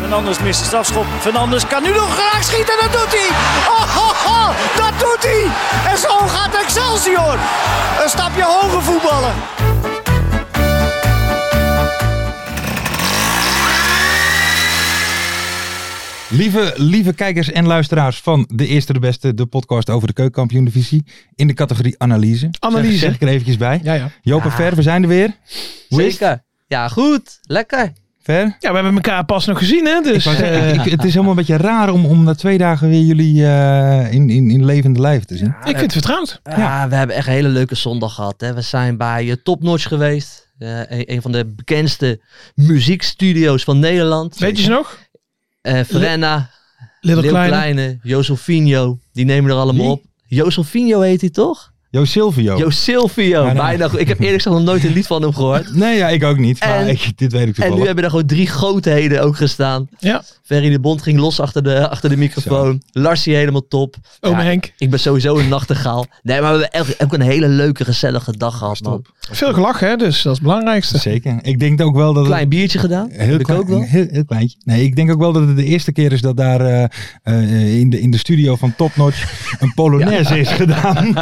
Fernandes mist de strafschop. Fernandes kan nu nog graag schieten. Dat doet hij. Oh, oh, oh, dat doet hij. En zo gaat Excelsior. Een stapje hoger voetballen. Lieve, lieve kijkers en luisteraars van De Eerste de Beste, de podcast over de keukenkampioen divisie. In de categorie analyse. Analyse. Zeg, zeg ik er eventjes bij. Ja, ja. Joop en Ja. Ver, we zijn er weer. Hoe is het? Zeker. Ja, goed. Lekker. Ver? ja, we hebben elkaar pas nog gezien, hè? Ik Dus, wou zeggen, eh, ik- het is helemaal een beetje raar om, om na twee dagen weer jullie eh, in, in, in levende lijf te zien. ik vind het vertrouwd. Ja, Ah, we hebben echt een hele leuke zondag gehad. Hè. We zijn bij eh, Top Notch geweest. Eh, een, een van de bekendste muziekstudio's van Nederland. Weet je ze nog? Eh, Verena, Little, Leeuw Kleine. Kleine, Josefinho. Die nemen er allemaal Wie? op. Josefinho heet hij toch? Jo Silvio. Jo Silvio. Ja, nou. nee. Bijna goed. Ik heb eerlijk gezegd nog nooit een lied van hem gehoord. Nee, ja, ik ook niet. Maar En- ik- dit weet ik En nu toevallig. hebben er gewoon drie grootheden ook gestaan. Ja, Ferry de Bond ging los achter de, achter de microfoon. Larsie helemaal top. ome Ja, Henk. Ik ben sowieso een nachtegaal. Nee, maar we hebben echt, ook een hele leuke, gezellige dag gehad, man. Veel gelachen, hè? Dus dat is het belangrijkste. Zeker. Ik denk ook wel dat het Klein biertje gedaan. Heel heb ik klein, ook wel. Heel, heel kleintje. Nee, ik denk ook wel dat het de eerste keer is dat daar eh, eh, in, de, in de studio van Top Notch een Polonaise is gedaan.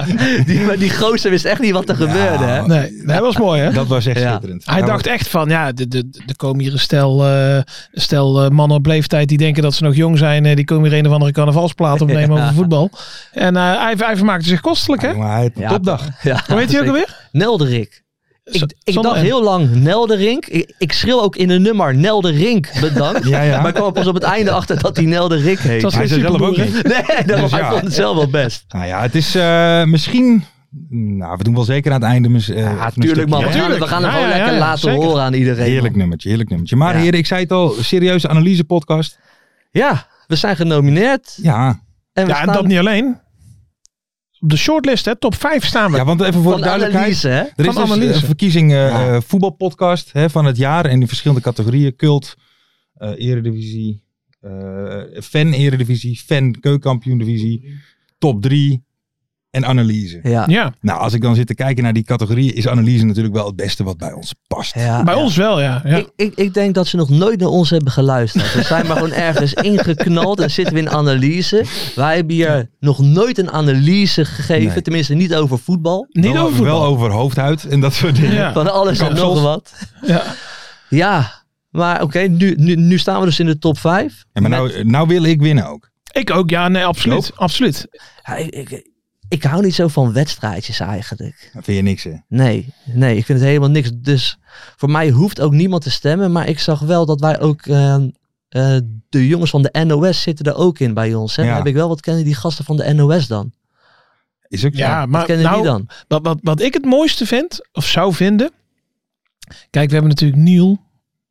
Die, maar die gozer wist echt niet wat er gebeurde, hè? Nee, dat was mooi, hè? Dat was echt Ja. schitterend. Hij Dat dacht was- echt van, ja, de, de, de komen hier een stel, eh, een stel eh, mannen op leeftijd die denken dat ze nog jong zijn. eh, die komen hier een of andere carnavalsplaat opnemen over voetbal. En eh, hij, hij vermaakte zich kostelijk, hè? Ja, maar hij had een Ja, topdag. Ja, Hoe heet hij ook alweer? Nelderik. Ik, Z- ik zonder dacht N. heel lang Nelderink. Ik, ik schreeuw ook in een nummer Nelderink bedankt. Ja, ja. Maar ik kwam pas op het einde achter dat hij Nelderik heet. Het was Hij geen zei zelf ook superboer, hè? niet. Nee, dat Dus hij ja. vond het zelf wel best. Nou ja, het is eh, misschien... Nou, we doen wel zeker aan het einde. mis- eh, even een Ja, tuurlijk man. stukje. We gaan, we tuurlijk. gaan hem Ja, gewoon ja, ja, lekker ja, laten zeker. horen aan iedereen. Heerlijk man. nummertje, heerlijk nummertje. Maar Ja. heren, ik zei het al, serieuze analyse podcast. Ja, we zijn genomineerd. Ja. En we Ja, en staan dat niet alleen. Op de shortlist, hè? Top 5 staan we. ja, want even voor de van duidelijkheid. analyse, hè? Er is Van dus analyse. een verkiezing eh, Ja. eh, voetbalpodcast hè, van het jaar. En in verschillende categorieën. Cult, eh, eredivisie, eh, fan eredivisie, fan keukenkampioen divisie, top 3 en analyse. Ja. Ja, Nou, als ik dan zit te kijken naar die categorieën, is analyse natuurlijk wel het beste wat bij ons past. Ja, bij ja. ons wel, ja. ja. Ik, ik, ik denk dat ze nog nooit naar ons hebben geluisterd. We zijn maar gewoon ergens ingeknald en zitten we in analyse. Wij hebben hier nog nooit een analyse gegeven. Nee. Tenminste, niet over voetbal. Niet wel, over voetbal. Wel over hoofdhuid en dat soort dingen. Ja. Van alles en Kapsels. nog wat. Ja. Ja, maar oké, nu, nu, nu staan we dus in de top 5. Ja, maar nou, nou wil ik winnen ook. Ik ook, ja, nee, absoluut. Absoluut. ik, ik, ik hou niet zo van wedstrijdjes eigenlijk. Dat vind je niks hè? Nee, nee, ik vind het helemaal niks. Dus voor mij hoeft ook niemand te stemmen. Maar ik zag wel dat wij ook... eh, eh, de jongens van de NOS zitten er ook in bij ons. Hè? Ja. Dan heb ik wel wat kennen die gasten van de NOS dan. Is ook zo. Ja, maar Wat kennen nou, die dan? Wat, wat, wat ik het mooiste vind, of zou vinden. Kijk, we hebben natuurlijk Neil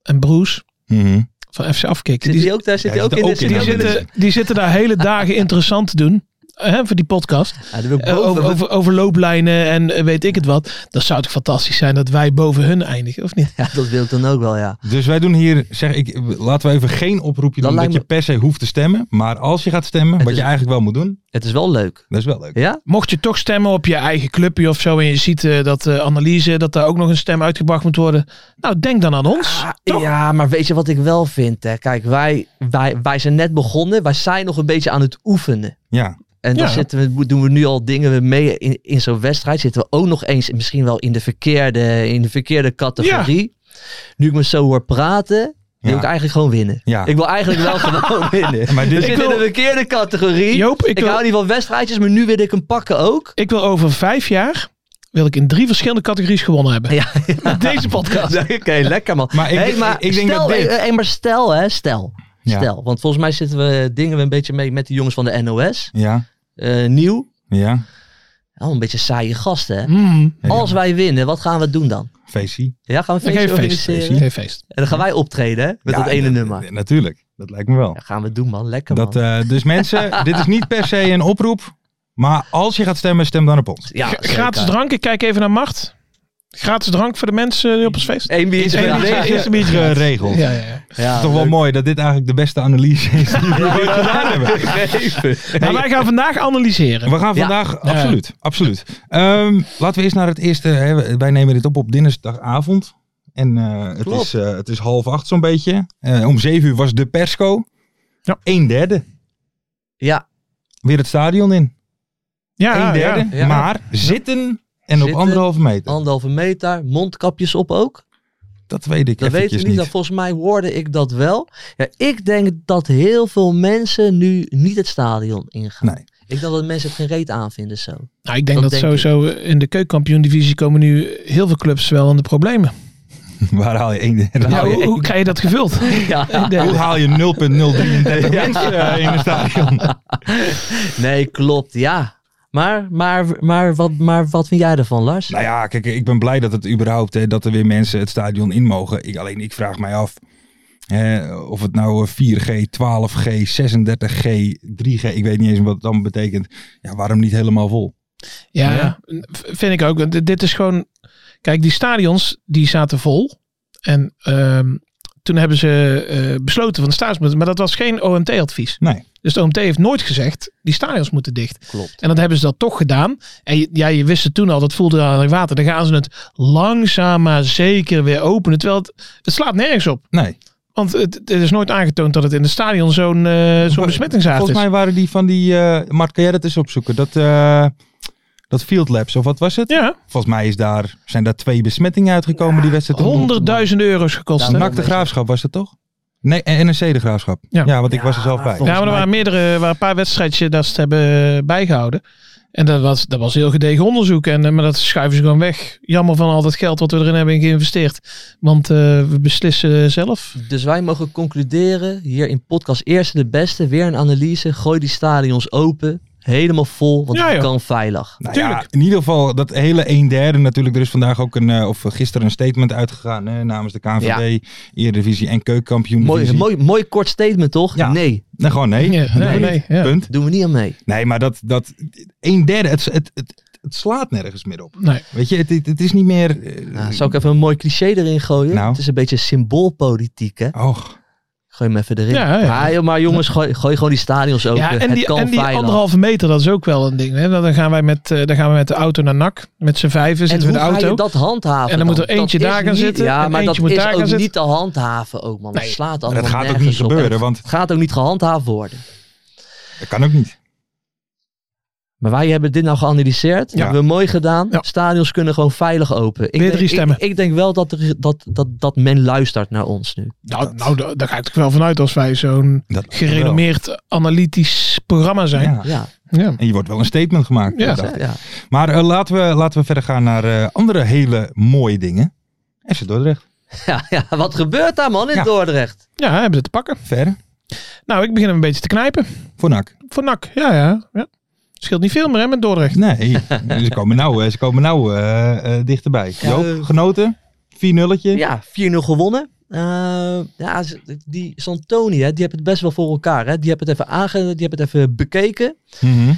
en Bruce Mhm. van FC Afkick. Zit Die, die ook daar? Ja, Zit die ook zit in? er de- ook in, Zit die die ook in? de- zitten, die zitten daar hele dagen interessant te doen. Hè, voor die podcast. Ja, dan wil ik Eh, boven- over, over, over looplijnen en eh, weet ik het wat. Dan zou het fantastisch zijn dat wij boven hun eindigen, of niet? Ja, dat wil ik dan ook wel, ja. Dus wij doen hier, zeg ik, laten we even geen oproepje Dat doen dat lijkt je me- per se hoeft te stemmen. Maar als je gaat stemmen, wat is- je eigenlijk wel moet doen, Het is wel leuk. dat is wel leuk. Ja? Mocht je toch stemmen op je eigen clubje of zo. En je ziet eh, dat eh, analyse, dat daar ook nog een stem uitgebracht moet worden. Nou, denk dan aan Ah, ons. toch? Ja, maar weet je wat ik wel vind? Hè? Kijk, wij, wij, wij zijn net begonnen. Wij zijn nog een beetje aan het oefenen. Ja, En dan Ja. zitten we, doen we nu al dingen mee in, in zo'n wedstrijd. Zitten we ook nog eens misschien wel in de verkeerde, in de verkeerde categorie. Nu ik me zo hoor praten, wil Ja. ik eigenlijk gewoon winnen. Ja. Ik wil eigenlijk wel gewoon winnen. maar We dit, zitten in de verkeerde categorie. Joop, ik ik wil- hou niet van wedstrijdjes, maar nu wil ik hem pakken ook. Ik wil over vijf jaar wil ik in drie verschillende categorie's gewonnen hebben. Ja, Met Deze podcast. Oké, lekker man. Maar ik- Hey, ik- ik denk stel, dat dit- eh, eh, maar stel, hè, stel. Ja. Stel, want volgens mij zitten we dingen we een beetje mee met die jongens van de NOS. Ja, Eh, nieuw. ja. Allemaal een beetje saaie gasten, hè. Mm. Ja. Als wij winnen, wat gaan we doen dan? VC. Ja, gaan we Dan een geef feestje je feest. organiseren? Geef je feest. En dan gaan wij optreden, hè? Met Ja, dat ene dat- nummer. Ja, natuurlijk, dat lijkt me wel. Ja, gaan we doen, man. Lekker, Dat, man. eh, dus mensen, dit is niet per se een oproep. Maar als je gaat stemmen, stem dan op ons. ja, Gra- gratis zeker. drank. Ik kijk even naar Mart. Gratis drank voor de mensen die op ons feest. Eén biertje. Eén biertje. Ja, Is een beetje geregeld. Ja, ja, ja. Het ja, is toch wel mooi dat dit eigenlijk de beste analyse is die we ooit gedaan hebben. Maar Nou, wij gaan vandaag analyseren. We gaan Nou, Ja. vandaag, absoluut, absoluut. Ehm, laten we eerst naar het eerste, hè, wij nemen dit op op dinsdagavond. En eh, het, Klopt. is, eh, het is half acht zo'n beetje. Eh, om zeven uur was de persco. Ja. Een derde. Ja, Weer het stadion in. Ja, een derde. ja. Maar zitten en op Zitten. anderhalve meter. anderhalve meter. Mondkapjes op ook. dat weet ik Dat weet ik eventjes niet. niet. Dat, volgens mij hoorde ik dat wel. Ja, ik denk dat heel veel mensen nu niet het stadion ingaan. Nee. Ik denk dat mensen het geen reet aanvinden zo. Nou, ik denk dat, Dat denk sowieso in de keukenkampioen-divisie komen nu heel veel clubs wel in de problemen. Waar haal je een derde? Ja, Haal je- hoe, hoe krijg je dat gevuld? Nou, Ja. Een derde. Hoe haal je 0,033 mensen eh, in een stadion? Nee, klopt. Ja. Maar, maar, maar, wat, maar wat vind jij ervan, Lars? Nou ja, kijk, ik ben blij dat het überhaupt, hè, dat er weer mensen het stadion in mogen. Ik, alleen ik vraag mij af hè, of het nou eh, 4G, 12G, 36G, 3G, ik weet niet eens wat het dan betekent. Ja, waarom niet helemaal vol? Ja, Ja. v- vind ik ook. Want dit- Dit is gewoon. Kijk, die stadions die zaten vol. En ehm, toen hebben ze eh, besloten van de staatsmunt. Maar dat was geen OMT-advies. Nee. Dus de OMT heeft nooit gezegd, die stadions moeten dicht. Klopt. En dat hebben ze dat toch gedaan. En je- ja, je wist het toen al, dat voelde aan het water. Dan gaan ze het langzaam maar zeker weer openen. Terwijl het, het slaat nergens op. Nee. Want het, het is nooit aangetoond dat het in het stadion zo'n eh zo'n besmettingshaard Volgens is. mij waren die van die, eh Mart, kan jij dat eens opzoeken? Dat, eh, dat Field Labs, of wat was het? Ja, Volgens mij is daar, zijn daar twee besmettingen uitgekomen die wedstrijd. om- honderdduizenden euro's gekost. Ja, hè? NAC de Graafschap was dat toch? Nee, en NEC de Graafschap. Ja. Ja, want ik was er zelf bij. volgens Ja, maar er mij- waren meerdere, er waren een paar wedstrijdjes dat ze het hebben eh, bijgehouden. En dat was, dat was heel gedegen onderzoek. En, eh, maar dat schuiven ze gewoon weg. Jammer van al dat geld wat we erin hebben geïnvesteerd. Want eh, we beslissen zelf. Dus wij mogen concluderen hier in podcast Eerste de Beste. Weer een analyse. Gooi die stadions open. Helemaal vol, want Ja, het joh. kan veilig. Nou Tuurlijk. ja, in ieder geval dat hele een derde natuurlijk. Er is vandaag ook een, eh, of gisteren een statement uitgegaan hè, namens de KNVB, Eredivisie en Keukenkampioen. Mooi, mooi, mooi kort statement, toch? Ja. Nee, Nee, gewoon nee. Nee, nee, nee, ja. Punt. doen we niet aan mee. Nee, maar dat, dat een derde, het, het, het, het slaat nergens meer op. Nee. Weet je, het, het, het is niet meer... eh, Nou, zal ik even een mooi cliché erin gooien? Nou. Het is een beetje symboolpolitiek, hè? Och, Gooi hem even erin. Ja, ja. Ah, joh, maar jongens, gooi, gooi gewoon die stadions open. Ja, en eh, het die, kan en die veilig. anderhalve meter, dat is ook wel een ding. Hè? Nou, Dan, gaan wij met, eh, dan gaan we met de auto naar NAC. Met z'n vijven en hoe zitten we in de ga auto. je dat handhaven? En dan moet er Dat eentje is daar gaan niet- zitten Ja, en maar dat eentje moet is daar gaan ook zitten. niet te handhaven ook, man. Dat Nee. slaat dat allemaal gaat ook niet nergens op. gebeuren, Het want gaat ook niet gehandhaafd worden. dat kan ook niet. Maar wij hebben dit nou geanalyseerd. Ja. We hebben mooi gedaan. Ja. Stadions kunnen gewoon veilig open. Ik Weer drie denk, stemmen. Ik, ik denk wel dat, er, dat, dat, dat men luistert naar ons nu. Nou, nou, da- daar ga ik toch wel vanuit als wij zo'n Dat gerenommeerd analytisch programma wel. zijn. Ja. Ja, Ja. En je wordt wel een statement gemaakt. Ja, dacht ik. ja. Maar eh, laten, we, laten we verder gaan naar eh, andere hele mooie dingen. FC Dordrecht. ja, ja. wat gebeurt daar, man, in Ja. Dordrecht? ja, hebben we het te pakken. Ver. Nou, ik begin hem een beetje te knijpen. Voor NAC. Voor NAC, ja, ja. ja. Scheelt niet veel meer hè, met Dordrecht. Nee, ze komen nou, eh, ze komen nou eh, eh, dichterbij. Ja, Joop, eh, genoten? 4-nulletje? Ja, 4-0 gewonnen. Eh, ja, z- die Santoni, hè, die hebben het best wel voor elkaar. Hè. Die hebben het even aange, die hebben het even bekeken. Mhm.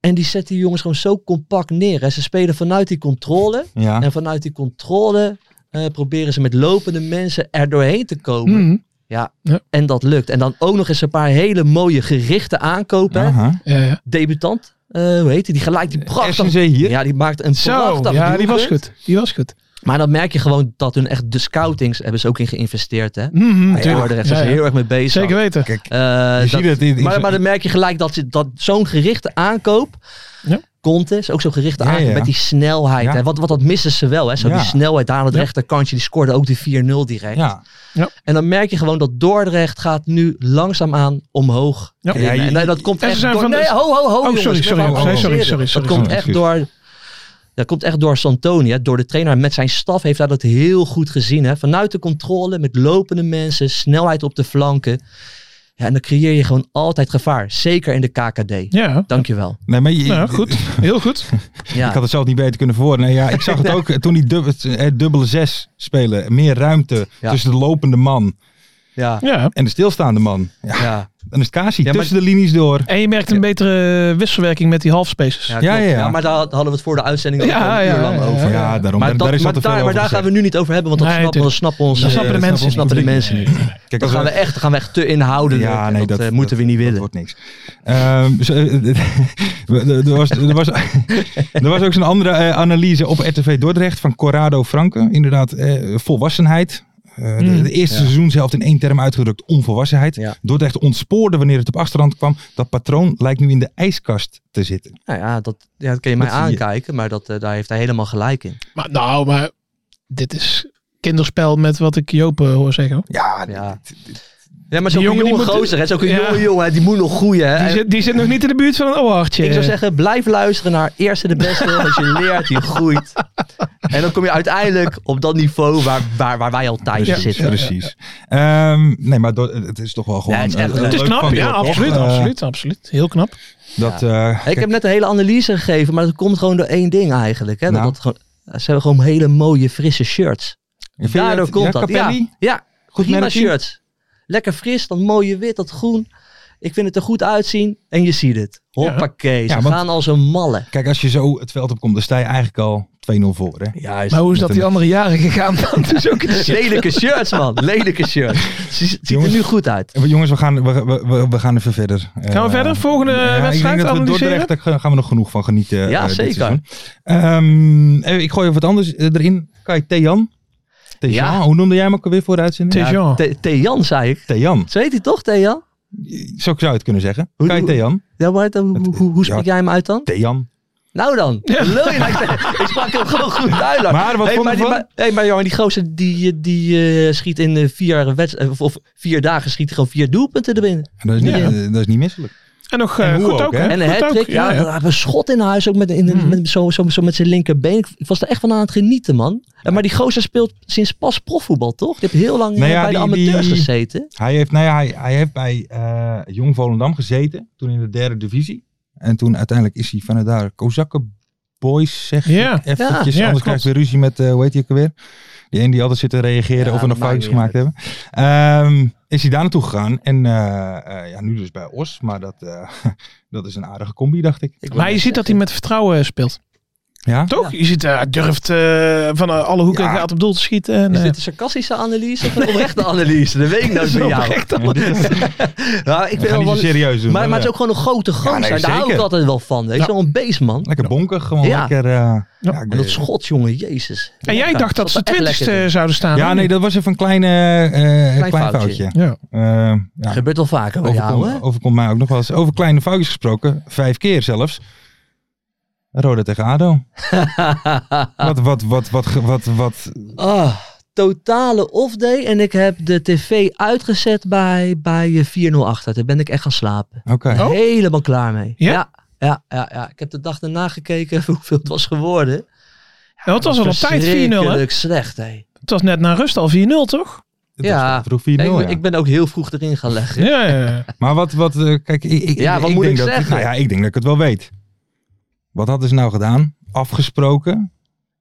En die zetten die jongens gewoon zo compact neer. Hè. Ze spelen vanuit die controle. ja. En vanuit die controle eh, proberen ze met lopende mensen er doorheen te komen. Mhm. Ja, Ja. en dat lukt. En dan ook nog eens een paar hele mooie gerichte aankopen. hè. Aha. Ja, ja. Debutant, eh, hoe heet die? Die gelijk die prachtig... SNC hier. Ja, die maakt een Zo, prachtig ja, die was doelpunt. goed. Die was goed. Maar dan merk je gewoon dat hun echt de scoutings hebben ze ook in geïnvesteerd. Hè? Mhm, Ja, natuurlijk. Dordrecht zijn Ja, ze ja. heel erg mee bezig. Zeker weten. Kijk, Eh, je dat- ziet het in, in maar, zo'n- maar dan merk je gelijk dat, ze- dat zo'n gerichte aankoop. Ja. Conte is ook zo'n gerichte Ja, aankoop ja. met die snelheid. Ja. Hè? Want, want dat missen ze wel. Hè? Zo Ja. die snelheid daar aan het Ja. rechterkantje. Die scoorde ook die 4-0 direct. ja. En dan merk je gewoon dat Dordrecht gaat nu langzaamaan omhoog. Ja. klimmen. Ja, je- en eh, dat komt En ze echt zijn door... van de- Nee, ho, ho, ho. Oh, jongens, sorry, we sorry, gaan sorry, sorry, analyseren. sorry, sorry, Dat komt sorry. echt door... Dat komt echt door Santoni, hè, door de trainer. Met zijn staf heeft hij dat heel goed gezien. Hè. Vanuit de controle, met lopende mensen, snelheid op de flanken. Ja, en dan creëer je gewoon altijd gevaar. Zeker in de KKD. Ja, Dankjewel. Nee, maar je, nou, goed. Heel goed. Ja. Ik had het zelf niet beter kunnen verwoorden. Nee, ja, ik zag het ook eh, toen die dubbele, eh, dubbele zes spelen. Meer ruimte Ja. tussen de lopende man Ja, Ja. en de stilstaande man. Ja, ja. dan is het Kasi Ja, maar- tussen de linies door. En je merkt een betere wisselwerking met die halfspaces. klopt. ja, ja. maar daar hadden we het voor de uitzending ook Ja, al een uur ja, lang ja, over. ja. Ja, daarom. Maar, daar, dat, daar is al te veel maar daar, maar over daar gaan we nu niet over hebben, want dat Nee, snappen, dat tuurlijk. snappen onze Dat snappen de eh, mensen dat snappen de niet. mensen niet. Kijk, Dan als gaan we we- echt, dan gaan we echt te inhouden. Ja, nee, dat, eh, moeten we niet dat willen. wordt niks. Ehm, zo, eh, er, was, er, was, er was ook zo'n andere eh, analyse op RTV Dordrecht van Corrado Franke. Inderdaad, eh, volwassenheid. Eh, de, Mm. de eerste seizoen zelf in één term uitgedrukt, onvolwassenheid. Ja. Dordrecht ontspoorde wanneer het op achterhand kwam. Dat patroon lijkt nu in de ijskast te zitten. Nou ja, dat, ja, dat kun je mij Dat zie je. aankijken, maar dat, eh, daar heeft hij helemaal gelijk in. Maar, nou, maar dit is kinderspel met wat ik Joop eh, hoor zeggen. hoor. Ja, Ja, ja maar zo'n Die jongen, die jonge moet- gozer, hè, zo'n Ja. jonge jongen, hè, die moet nog groeien. hè. Die En zit, die zit nog niet in de buurt van een oortje. Ik zou zeggen, blijf luisteren naar Eerste de Beste, want je leert, je groeit. En dan kom je uiteindelijk op dat niveau waar, waar, waar wij al thuis precies. zitten. precies. Ehm, nee, maar Dor- het is toch wel gewoon... Ja, het is echt eh, leuk. Het is leuk knap, van ja, Dordrecht. absoluut, Eh, absoluut, absoluut. Heel knap. Dat, eh, Hey, ik heb net een hele analyse gegeven, maar dat komt gewoon door één ding eigenlijk. Hè? Dat, Nou. dat gewoon, ze hebben gewoon hele mooie, frisse shirts. vind je Daardoor het- komt ja, dat. Capelli? Ja, ja Goed prima merkje? shirts. Lekker fris, dat mooie wit, dat groen. Ik vind het er goed uitzien en je ziet het. Hoppakee, ze Ja, want- gaan als een malle. Kijk, als je zo het veld op komt, dan sta je eigenlijk al 2-0 voor. Hè? Juist. Maar hoe is dat met die een- andere jaren gegaan? dan? Het is ook een shit. Lelijke shirts, man. Lelijke shirts. Ze- Het ziet er Jongens. nu goed uit. Eh, Jongens, we gaan, we, we, we- we gaan even verder. eh, Gaan we verder? Volgende ik denk wedstrijd dat we analyseren? Dordrecht, daar gaan gaan we nog genoeg van genieten. eh, dit zeker. seizoen. Ehm, eh, ik gooi even wat anders eh, erin. Kai Thean. Thean, Ja. hoe noemde jij hem ook alweer voor de uitzending? Tejan. Te- Thean, zei ik. Thean. Zo heet hij toch, Thean? Zo zou je het kunnen zeggen. Hoe- Kai hoe- Thean. Ja, maar dan- hoe, hoe, hoe spreek Ja. jij hem uit dan? Thean. Nou dan. Lul je nou? Ik- Ik sprak hem gewoon goed uit. Lars. Maar wat Hey, vond maar, je die, ervan? maar, hey, maar jongen, die gozer die, eh, die eh, schiet in eh, vier, wedst- eh, of, of vier dagen schiet hij gewoon vier doelpunten er binnen. Dat is niet, Ja. eh, dat is niet misselijk. En nog eh, En hoe goed ook, ook, hè? hè? En een Goed hat ook, Ja, we hebben een schot in huis. Ook met, in, Mhm. met, zo, zo, zo met zijn linkerbeen. Ik, ik was er echt van aan het genieten, man. En Maar die gozer speelt sinds pas profvoetbal, toch? Die heeft heel lang eh, Nou ja, bij de die- amateurs die- gezeten. Hij heeft, nou ja, hij, hij heeft bij eh, Jong Volendam gezeten. Toen in de derde divisie. En toen uiteindelijk is hij vanuit daar Kozakken Boys, zeg Ja. ik eventjes. Ja, ja, anders klopt. krijg je weer ruzie met, eh hoe heet hij ook alweer? Die een die altijd zit te reageren Ja, of we nog dat maakt foutjes niet gemaakt hebben. Ehm, is hij daar naartoe gegaan. En eh, eh, ja, nu dus bij Os. Maar dat, eh, dat is een aardige combi, dacht ik. Ik Maar je wil- ziet dat hij met vertrouwen eh, speelt. Ja? Toch? Je ziet, eh, hij durft eh, van eh, alle hoeken Ja. gaat op doel te schieten. En, Is eh, dit een sarcastische analyse of een oprechte analyse? Dat weet ik nou dat nooit is van wel jou. oprecht al. Ja, ik We vind gaan niet wel zo wel- serieus doen. Maar, hoor. maar het is ook gewoon een grote gozer. Ja, nee, Daar hou ik zeker. altijd wel van. Weet je eh, Ja. wel, een beestman. Lekker bonkig, gewoon Ja. lekker... eh, ja, ik En dat weet- schot, jongen, jezus. En jij Lekker. dacht dat ze was echt lekker, twintigste dit. zouden staan. ja, hè? nee, dat was even een klein, eh, eh, klein, foutje. foutje. Ja. Eh, ja, Gebeurt wel vaker bij jou, hè? overkomt, overkomt mij ook nog wel eens. Over kleine foutjes gesproken, vijf keer zelfs. Roda tegen ADO. Wat, wat, wat, wat, ge- wat, wat, Ah, totale off-day. En ik heb de tv uitgezet bij, bij eh, 4-0 achter. Daar ben ik echt gaan slapen. oké. Oh. Helemaal klaar mee. Ja? Ja, ja, ja, ja. Ik heb de dag daarna gekeken hoeveel het was geworden. Ja, het was al op tijd 4-0, hè? Verschrikkelijk slecht, hè? Het was net na rust al 4-0, toch? Het Ja. was vroeg 4-0, ja. ik, ik ben ook heel vroeg erin gaan leggen. Ja, ja, ja. Maar wat, wat, eh, kijk, ik, ik, Ja, wat ik moet denk ik dat, zeggen? Nou ja, ik denk dat ik het wel weet. Wat hadden ze nou gedaan? Afgesproken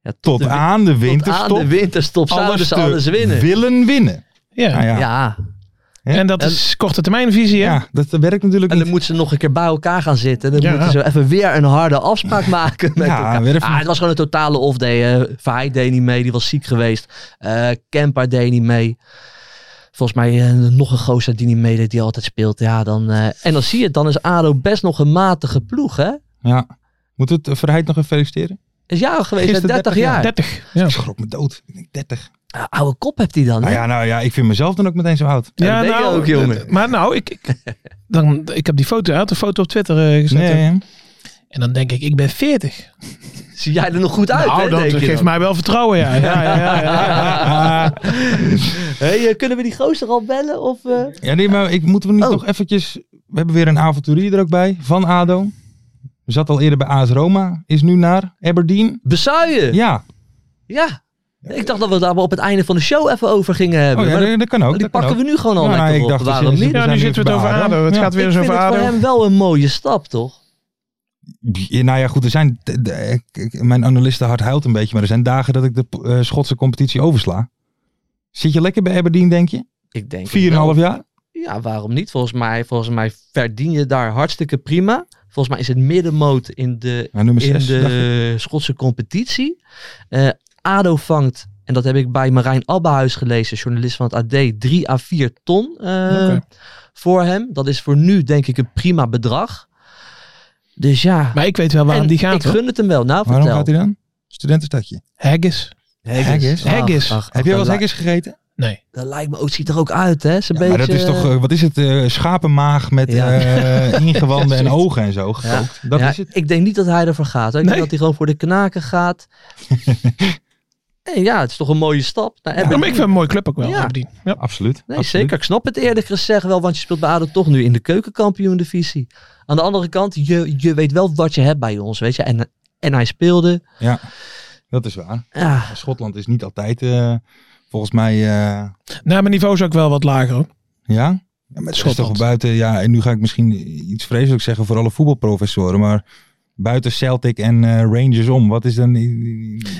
Ja, tot de- aan de tot aan winterstop. de winterstop zouden alles ze te alles winnen. willen winnen. Ja. Nou ja, ja. ja, En dat En- is korte termijnvisie, hè? dat werkt natuurlijk En niet. dan moeten ze nog een keer bij elkaar gaan zitten. En dan Ja. moeten ze even weer een harde afspraak maken met Ja, elkaar. weer even- Ah, het was gewoon een totale off-day. eh. Verheid deed niet mee, die was ziek geweest. Eh Kemper deed niet mee. Volgens mij eh, nog een gozer die niet meedeed, die altijd speelt. Ja, dan, eh, en dan zie je het, dan is ADO best nog een matige ploeg, hè? Ja. Moet het eh, Verheid nog even feliciteren? Is jarig geweest, hè? Gisteren 30 30 jaar. 30. Ja, Ik schrok me dood. Ik denk 30. Ah, oude kop hebt hij dan, hè? Nou ja, nou ja, ik vind mezelf dan ook meteen zo oud. Ja, dat denk je ook, jongen. d- Maar nou, ik, ik, dan, ik heb die foto, hij had de foto op Twitter eh, gezet. Nee, hè? En dan denk ik, ik ben 40. Zie jij er nog goed uit, nou, hè, dat denk je geeft dan? mij wel vertrouwen, ja. ja, ja, ja, ja. Hey, eh, kunnen we die gozer al bellen? Of, eh? Ja, nee, maar ik, moeten we niet Oh. nog eventjes... We hebben weer een avonturier er ook bij, van ADO. Zat al eerder bij AS Roma, is nu naar Aberdeen. Bezuien! Ja. Ja, Oh Ik dacht dat we daar wel op het einde van de show even over gingen hebben. oh, ja maar dat, dat kan ook. die dat kan pakken ook. we nu gewoon al Nou, lekker ik op. dacht, we Waarom zitten- niet? Ja, zijn nu nu zitten we het over bij ADO. ADO. Het Ja. gaat weer ik eens vind over het ADO. voor hem wel een mooie stap, toch? Ja, nou ja, goed, er zijn, d- d- eh, k- mijn analisten hart huilt een beetje, maar er zijn dagen dat ik de eh, Schotse competitie oversla. Zit je lekker bij Aberdeen, denk je? Ik denk het Vier en een wel. half jaar? Ja, waarom niet? Volgens mij, volgens mij verdien je daar hartstikke prima. Volgens mij is het middenmoot in de, Ja, nummer in zes. dacht ik. de Schotse competitie. Eh, ADO vangt, en dat heb ik bij Marijn Abbehuis gelezen, journalist van het AD, 3 à 4 ton eh, Oké. voor hem. Dat is voor nu denk ik een prima bedrag. Dus ja, Maar ik weet wel waarom en die gaat. ik hoor. gun het hem wel. Nou, Waarom vertel. gaat hij dan? Studentenstadje. Haggis. Haggis? Ach, Haggis. ach, ach, Heb jij wel dat eens haggis gegeten? Nee. li- Dat lijkt me ook, ziet er ook uit, hè? Is een Maar beetje, dat is toch, eh, wat is het, eh, schapenmaag met Ja. eh, ingewanden en ogen en zo Ja. gekookt. Dat Ja, is het. Ik denk niet dat hij ervoor gaat. Hè? Ik Nee. denk dat hij gewoon voor de knaken gaat. en ja, het is toch een mooie stap. Nou, Ja, Aberdeen- maar ik vind een mooie club ook wel. Ja. Aberdeen. Ja. Absoluut. Nee, absoluut. zeker. Ik snap het eerlijk gezegd wel, want je speelt bij ADO toch nu in de keukenkampioen-divisie. Aan de andere kant, je, je weet wel wat je hebt bij ons, weet je. En, en hij speelde. Ja, dat is waar. Ja, Schotland is niet altijd, eh, volgens mij, eh, Nou, mijn niveau is ook wel wat lager. hoor. ja. ja maar het is toch Schotland. buiten, ja, en nu ga ik misschien iets vreselijks zeggen voor alle voetbalprofessoren, maar buiten Celtic en eh, Rangers om, wat is dan...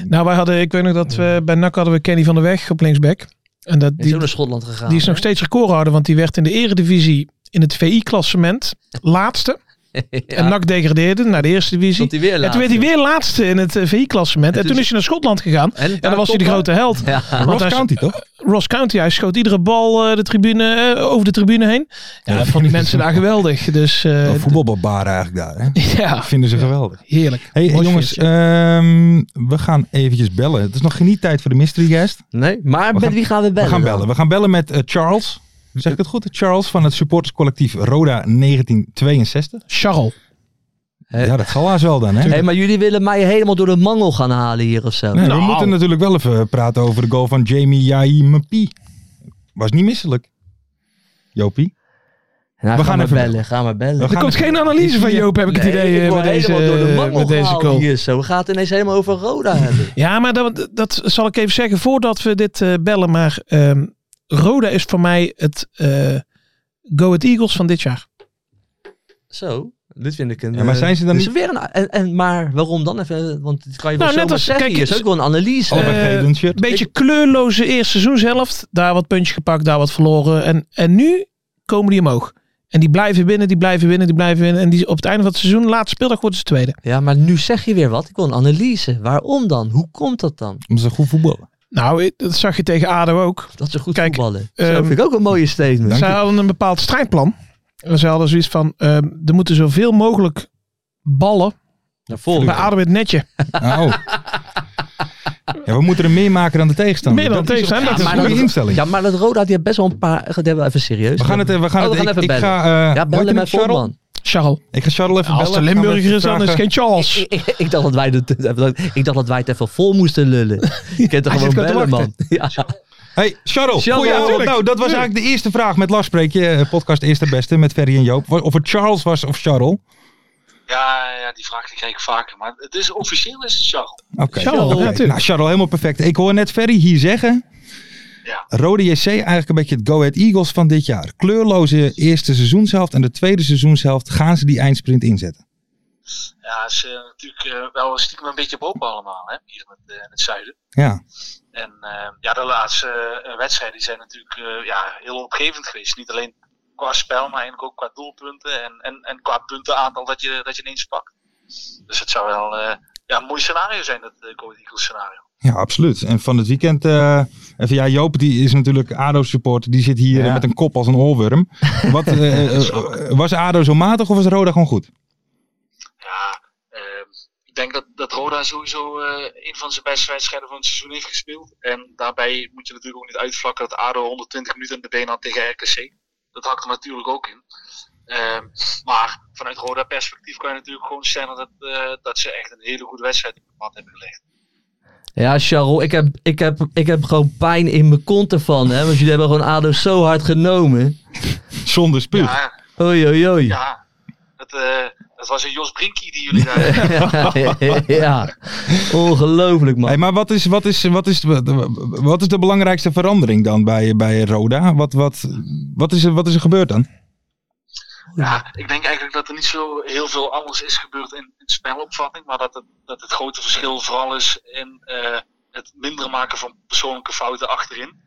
Nou, wij hadden, ik weet nog dat we bij NAC hadden we Kenny van der Weg op linksback. En dat, die is die, ook naar Schotland gegaan. die is nog hè? steeds recordhouder, want die werd in de eredivisie in het VI-klassement laatste. Ja, En NAC degradeerde naar de eerste divisie. stond hij weer En toen werd hij weer laatste in het VI-klassement. En, toen toen is- is hij naar Schotland gegaan. En, En dan was hij de grote held. Ja, Want Ross hij is- County, toch? eh, Ross County, hij schoot iedere bal eh, de tribune, eh, over de tribune heen. Ja, dat vonden die mensen daar geweldig. Dus eh, Een voetbalbarbaren eigenlijk daar, hè? ja, Vinden ze geweldig. heerlijk. Hey, Mooi jongens, eh, feestje. ehm, we gaan eventjes bellen. Het is nog geen tijd voor de mystery guest. nee, maar We met gaan- wie gaan we bellen? we gaan dan? bellen. We gaan bellen met eh, Charles. Zeg ik het goed? Charles van het supporterscollectief Roda 1962. Charles. Eh. Ja, dat zal haast wel dan, hè? Hé, maar jullie willen mij helemaal door de mangel gaan halen hier of zo. Nee, Nou. We moeten natuurlijk wel even praten over de goal van Jamie Yai Mapi. Was niet misselijk. Jopie. Nou, We ga gaan maar even bellen, ga maar bellen. We Er gaan komt even- geen analyse van Joop, heb ik het Nee, idee, eh, ik word met deze, helemaal door de mangel met deze gehaald call. hier zo. We gaan het ineens helemaal over Roda hebben. Ja, maar dat, dat zal ik even zeggen voordat we dit eh, bellen. Maar ehm, Roda is voor mij het eh Go It Eagles van dit jaar. Zo, dit vind ik een... Ja, maar eh, zijn ze dan dit is niet- Weer een, en, en, maar waarom dan even? Want dit kan je wel Nou, net zomaar als- zeggen. kijk, Kijk, is is- ook wel een analyse. Eh, Albert Geedens Een shirt. beetje kleurloze eerste seizoenshelft. Daar wat puntje gepakt, daar wat verloren. En, en nu komen die omhoog. En die blijven winnen, die blijven winnen, die blijven winnen. En die, op het einde van het seizoen, laatste speeldag, worden ze tweede. ja, maar nu zeg je weer wat. Ik wil een analyse. Waarom dan? Hoe komt dat dan? Om ze goed voetballen. Nou, eh, dat zag je tegen ADO ook. Dat ze goed Kijk, voetballen. ehm, dat vind ik ook een mooie statement. Dank Zij u. hadden een bepaald strijdplan. En ze hadden zoiets van, ehm, er moeten zoveel mogelijk ballen Naar bij voren. ADO in het netje. Oh. Ja, we moeten er meer maken dan de tegenstander. Meer dan Dat is tegenstander, een- dat Dat is is een maar goede dat- instelling. Ja, maar dat Roda, die heeft best wel een paar... Die hebben we even serieus. We gaan het, eh, we gaan Oh, we het, ik, gaan even ik bellen. ga, eh, ja, hoe heet bellen die met Charles? Volman. Charles. Ik ga Charles even Als bellen. de Gaan we Limburger even is, dan is vragen- het geen Charles. Ik, ik- ik dacht dat wij het, ik dacht dat wij het even vol moesten lullen. Je kunt er Hij gewoon zit gewoon te bellen, man. wachten. Ja. Hey, Charles. Charles, Goeie ja, avond. tuurlijk. Nou, dat was eigenlijk de eerste vraag met Lars Spreekje. eh, Podcast Eerste Beste met Ferry en Joop. Of het Charles was of Charles. Ja, ja, die vraag die kreeg ik vaker. Maar het is officieel is het Charles. Oké. Charles, Oké. ja, tuurlijk. nou, Charles, helemaal perfect. Ik hoor net Ferry hier zeggen. Ja. Rode JC eigenlijk een beetje het Go Ahead Eagles van dit jaar. Kleurloze eerste seizoenshelft en de tweede seizoenshelft gaan ze die eindsprint inzetten. Ja, ze zijn natuurlijk eh, wel stiekem een beetje boven allemaal, hè, hier in het, eh, in het zuiden. Ja, En eh, ja, de laatste eh, wedstrijden zijn natuurlijk eh, ja, heel opgevend geweest. Niet alleen qua spel, maar eigenlijk ook qua doelpunten en, en, en qua puntenaantal dat je, dat je ineens pakt. Dus het zou wel eh, ja, een mooi scenario zijn, dat uh, Go Ahead Eagles scenario. ja absoluut. En van het weekend, eh, even ja, Joop die is natuurlijk ADO-supporter. Die zit hier eh, met een kop als een oorworm. Wat, eh, eh, eh, was ADO zo matig of was Roda gewoon goed? Ja, eh, ik denk dat, dat Roda sowieso eh, een van zijn beste wedstrijden van het seizoen heeft gespeeld. En daarbij moet je natuurlijk ook niet uitvlakken dat ADO 120 minuten in de benen had tegen RKC. Dat hakt er natuurlijk ook in. Ehm, maar vanuit Roda perspectief kan je natuurlijk gewoon stellen dat, eh, dat ze echt een hele goede wedstrijd op het pad hebben gelegd. Ja, Charles, ik heb, ik, heb, ik heb gewoon pijn in mijn kont ervan. Hè? Want jullie hebben gewoon ADO zo hard genomen. Zonder spuug. Ja, Oei, oei, oei. ja. Het Dat, eh, dat was een Jos Brinkie die jullie daar hebben. ja, ongelooflijk man. Hey, maar wat is, wat, is, wat, is, wat is de belangrijkste verandering dan bij, bij Roda? Wat, wat, wat, is er, wat is er gebeurd dan? Ja, ik denk eigenlijk dat er niet zo heel veel anders is gebeurd in, in spelopvatting. Maar dat het, dat het grote verschil vooral is in eh, het minder maken van persoonlijke fouten achterin.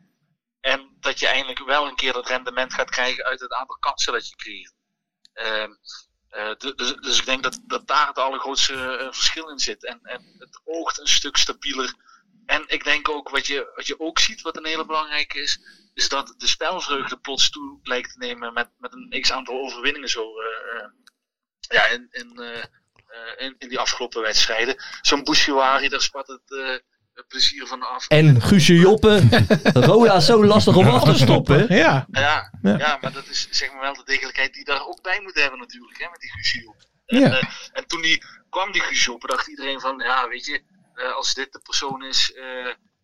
En dat je eindelijk wel een keer dat rendement gaat krijgen uit het aantal kansen dat je creëert. Ehm, eh, du- dus, dus ik denk dat, dat daar het allergrootste eh, verschil in zit. En, en het oogt een stuk stabieler. En ik denk ook wat je, wat je ook ziet, wat een hele belangrijke is, is dat de spelvreugde plots toe lijkt te nemen met, met een x aantal overwinningen zo. eh, eh, ja, in, in, eh, eh, in, in die afgelopen wedstrijden. Zo'n Bouchouari, daar spat het eh, het plezier van af. En Guusje Joppen, Roda is zo lastig om af te stoppen. Ja, Ja, Ja. ja. maar dat is zeg maar wel de degelijkheid die daar ook bij moet hebben natuurlijk, hè, met die Guziel. Ja. En, eh, en toen die, kwam die Guziel, dacht iedereen van, ja, weet je, eh, als dit de persoon is eh,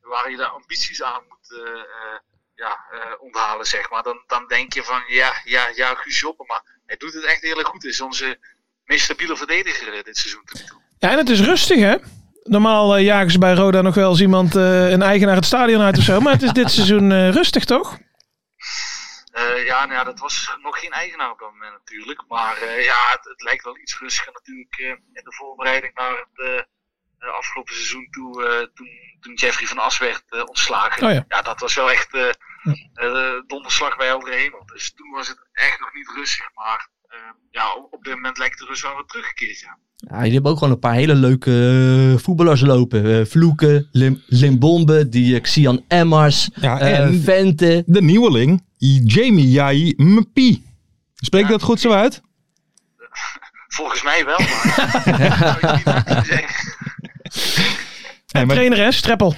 waar je daar ambities aan moet eh, eh, ja, eh, onthalen, zeg maar, dan, dan denk je van, ja, ja, ja, Guziel, maar hij doet het echt heel erg goed. Hij is onze meest stabiele verdediger eh, dit seizoen. tot nu toe. Ja, en het is rustig, hè? Normaal eh, jagen ze bij Roda nog wel eens iemand, eh, een eigenaar het stadion uit of zo. Maar het is dit seizoen eh, rustig, toch? Eh, ja, nou ja, dat was nog geen eigenaar op dat moment natuurlijk. Maar eh, ja, het, het lijkt wel iets rustiger natuurlijk eh, in de voorbereiding naar het eh, eh, afgelopen seizoen toe. eh, toen, toen Jeffrey van As werd eh, ontslagen. Oh ja. dat was wel echt eh, eh, donderslag bij heldere hemel. Dus toen was het echt nog niet rustig. Maar eh, ja, op, op dit moment lijkt de rust wel wat teruggekeerd. Ja. Ja, jullie hebben ook gewoon een paar hele leuke eh, voetballers lopen. Eh, Vloeken, Lim Limbombe, die eh, Xian Emmers, Ja, eh, en- Vente. De nieuweling, Jamie Jai Mpi. Spreek ik dat goed zo uit? Volgens mij wel, maar dat zou ik niet laten zeggen. Nee, maar- Trainer, hè? Streppel.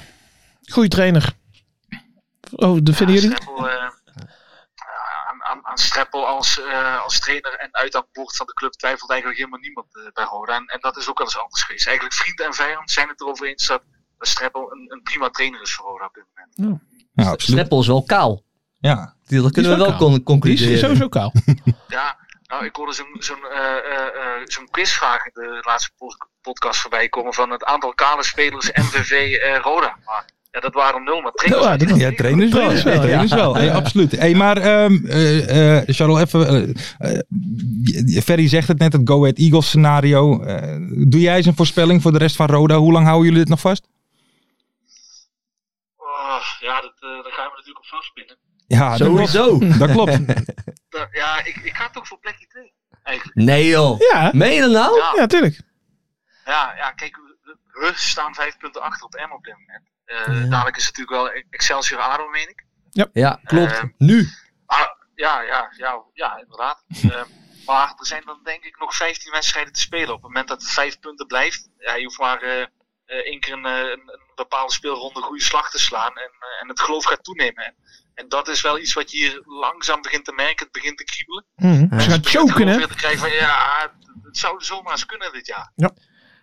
Goeie trainer. Oh, dat vinden Ja, jullie? Streppel, eh, ja, aan, aan, aan Streppel als, eh, als trainer en uit aan boord van de club twijfelt eigenlijk helemaal niemand eh, bij Roda. En, en dat is ook wel eens anders geweest. Eigenlijk vriend en vijand zijn het erover eens dat dat Streppel een, een prima trainer is voor Roda op dit moment. Ja, absoluut. Streppel is wel kaal. Ja. Die- Dat kunnen is we wel wel con- Die concluderen. is sowieso kaal. Ja, nou, ik hoorde zo'n zo'n eh, eh, eh, zo'n quizvraag in de laatste pod- podcast voorbij komen van het aantal kale spelers MVV eh, Roda. Maar ja, dat waren nul, maar trainers. Ja, dat- waren Ja, negen. trainers wel. Trainers wel, Ja, trainers wel. Hey, absoluut. Hey, maar ehm eh, eh, Charles, even. eh, eh, Ferry zegt het net, het Go Ahead Eagles scenario. Eh, doe jij eens een voorspelling voor de rest van Roda? Hoe lang houden jullie dit nog vast? Oh, ja, dat, eh, daar gaan we natuurlijk op vastpinnen. Ja, Ah, dat klopt. Sowieso. Dat klopt. Da- ja, ik, ik ga toch voor plekje 2 eigenlijk. Nee joh. Ja, Meen je dat nou? Ja. Oh, ja, tuurlijk. Ja, ja kijk, we- we staan vijf punten achter op M op dit moment. Eh, Dadelijk is het natuurlijk wel Excelsior Aro, meen ik. Ja, klopt. Ehm, nu. Ah, ja, ja, ja, ja, inderdaad. Eh, maar er zijn dan denk ik nog 15 wedstrijden te spelen. Op het moment dat het vijf punten blijft, ja, je hoeft maar eh, eh, één keer een, eh, een, een bepaalde speelronde een goede slag te slaan. En, eh, en het geloof gaat toenemen. En, en dat is wel iets wat je hier langzaam begint te merken. Het begint te kriebelen. Mhm. Ze gaan Je begint choken, hè? weer te krijgen van, ja, het, het zou zomaar eens kunnen dit jaar.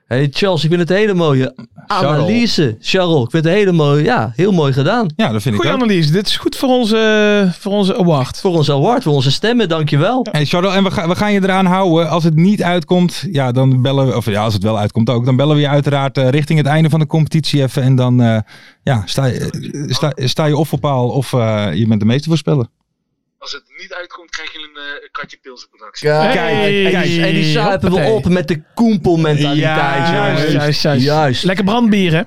Hey Charles, ik vind het een hele mooie analyse. Charles, ik vind het een hele mooie. Ja, heel mooi gedaan. Ja, dat vind ik Goeie ook. analyse. Dit is goed voor onze, voor onze award. Voor ons award, voor onze stemmen, dankjewel. Hey Charles, en we, ga- we gaan je eraan houden. Als het niet uitkomt, ja, dan bellen we, of ja, als het wel uitkomt ook, dan bellen we je uiteraard eh, richting het einde van de competitie even. En dan eh, ja, sta, je, eh, sta, sta je of op paal of eh, je bent de meeste voorspeller. Als het niet uitkomt, krijg je een eh, katje pils op het Kijk, Hey, en die- en die zuipen we hoppatee. op met de koempelmentaliteit, Ja, jongens. juist, juist, juist. Juist. Lekker brandbier, hè?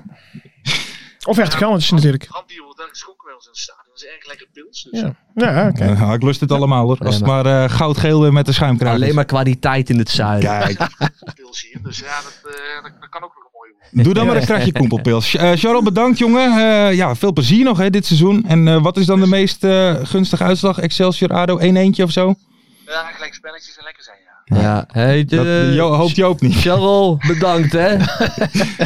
Of ertegammers natuurlijk. Brandbier wordt daar geschonken bij ons in het stadion. Dat is erg lekker pils. Dus. Ja, ja oké. Ja, ik lust het allemaal hoor. Als het maar eh, goudgeel weer met de schuimkraag is. Alleen maar kwaliteit in het zuiden. Kijk, pils hier. Dus ja, dat, eh, dat, dat kan ook nog een mooie worden. doe dan maar een straatje koempelpils. Eh Charles, bedankt jongen. Eh, ja, veel plezier nog hè, dit seizoen. En eh, wat is dan de meest eh, gunstige uitslag? Excelsior, ADO, 1 eentje of zo? Ja, gelijk spelletjes en lekker zijn, ja. Ja, hey, de, Dat jo- hoopt Joop niet. Charles, bedankt hè.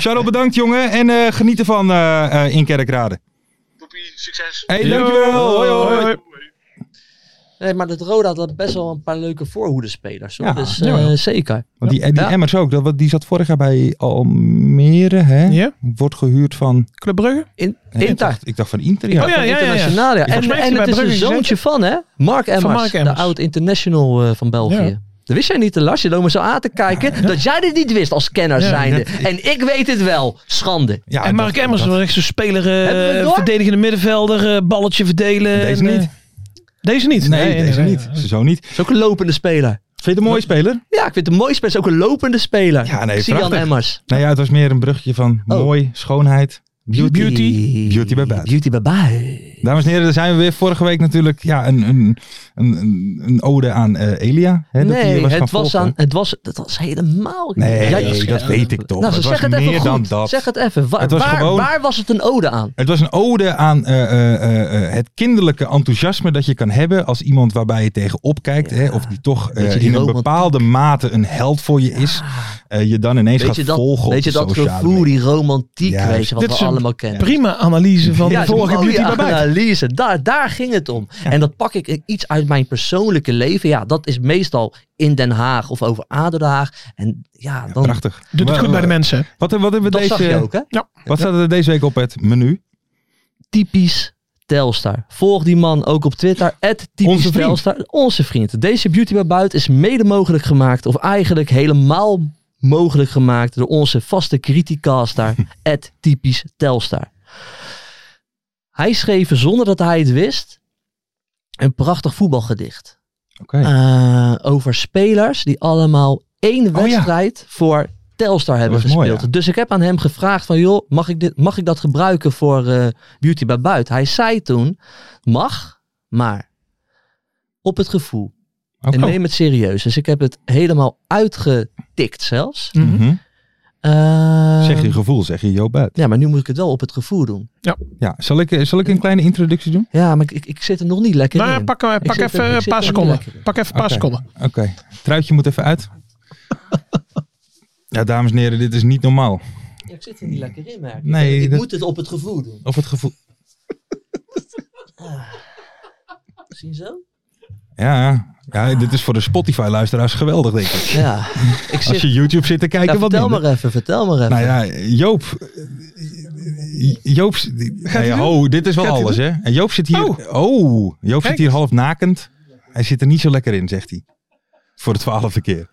Charles, bedankt jongen. En eh, geniet ervan eh, eh, in Kerkrade. Toepie, succes! Hey, dankjewel. Hoi, hoi. Nee, maar dat Roda had best wel een paar leuke voorhoedenspelers. Hoor. Ja, dus eh, jawel. zeker. Want die, die Ja. Emmers ook, dat, die zat vorig jaar bij Almere. Hè? Ja? Wordt gehuurd van... Club Brugge? In, Nee, ik, Inter. dacht, ik dacht van Inter, ja. Oh ja, ja, ja. ja. Internationale. Volgens En, mij heeft en hij het bij is een Brugge zoontje van hè? Mark Emmers, Mark Emmers. de oud international eh, van België. Ja. Dat wist jij niet, Lars. Je loopt me zo aan te kijken. Dat jij dit niet wist als kenner Ja, zijnde. dat- ik- En ik weet het wel. Schande. Ja, en Mark Ah, dat- Emmers dat- was echt zo'n speler, eh, Hebben we het door? verdedigende middenvelder, eh, balletje verdelen. Deze en, eh, niet. Deze niet? Nee, deze inderdaad. niet. Zo niet. Dat is ook een lopende speler. Vind je het een mooie speler? Ja, ik vind het mooi speler. Is ook een lopende speler. Ja, nee, Sian prachtig. Emmers. Nou ja, het was meer een brugje van Oh. mooi, schoonheid, beauty. Beauty bij buiten. Beauty bij buiten. Dames en heren, daar zijn we weer. Vorige week natuurlijk ja, een, een, een, een- een ode aan eh, Elia. Hè, dat die nee, was gaan het was, volgen. aan, het, was, het was helemaal niet. Nee, Ja, dat ja, weet ik toch. Nou, Het zeg was het even meer goed. dan dat. Zeg het even. Waar, Het was waar, gewoon- waar was het een ode aan? Het was een ode aan eh, eh, eh, eh, het kinderlijke enthousiasme dat je kan hebben als iemand waarbij je tegenop kijkt. Hè, of die toch eh, Weet je die in een romantiek? bepaalde mate een held voor je is. eh, je dan ineens Weet gaat je dat, volgen weet je op de dat sociale gevoel, media. die romantiek, Juist. weet je, wat Dit is we een allemaal kennen. Prima analyse van Ja, de die vorige mooie Beauty bij buiten. analyse. Daar, daar ging het om. En dat pak ik iets uit mijn persoonlijke leven. Ja, dat is meestal in Den Haag of over Adenhaag. En ja, dan... Prachtig. Doet het Wa- goed bij de mensen. Wat, wat hebben we dat deze, zag je ook, hè? Wat staat er deze week op het menu? typisch Telstar. Volg die man ook op Twitter. typisch Onze vriend. Telstar. Onze vriend. Deze Beauty bij Buiten is mede mogelijk gemaakt. Of eigenlijk helemaal mogelijk gemaakt. Door onze vaste criticaster. typisch Telstar. Hij schreef zonder dat hij het wist. Een prachtig voetbalgedicht. Oké. Eh, over spelers die allemaal één Oh ja. wedstrijd voor Telstar hebben was mooi, gespeeld. ja. Dus ik heb aan hem gevraagd van joh, mag ik, dit, mag ik dat gebruiken voor eh, Beauty bij Buiten? Hij zei toen, mag, maar op het gevoel. Oké. En neem het serieus. Dus ik heb het helemaal uitgetikt zelfs. Mhm. Eh, Zeg je gevoel, zeg je Joop uit. Ja, maar nu moet ik het wel op het gevoel doen. Ja, zal ik, eh, zal ik een kleine introductie doen? Ja, maar ik, ik, ik zit er nog niet lekker Nou, in. pak, eh, pak zit er- even ik een zit er paar niet seconden. lekker in. Pak even een paar Oké. seconden. Oké, truitje moet even uit. Ja, dames en heren, dit is niet normaal. Ja, ik zit er niet lekker in, merk ik. Nee, ik dat- moet het op het gevoel doen. Of het gevoel... Zie je zo? Ja, ja dit is voor de Spotify-luisteraars geweldig, denk ik. Ja, ik zit Als je YouTube zit te Ja, kijken, wat vertel minder. maar even, vertel maar even. Nou ja, Joop... eh, Joop... Nee, oh, dit is wel Gaat hij alles, hè? En Joop zit hier... Oh. Oh, Joop Kijk. zit hier half nakend. Hij zit er niet zo lekker in, zegt hij. Voor de twaalfde keer.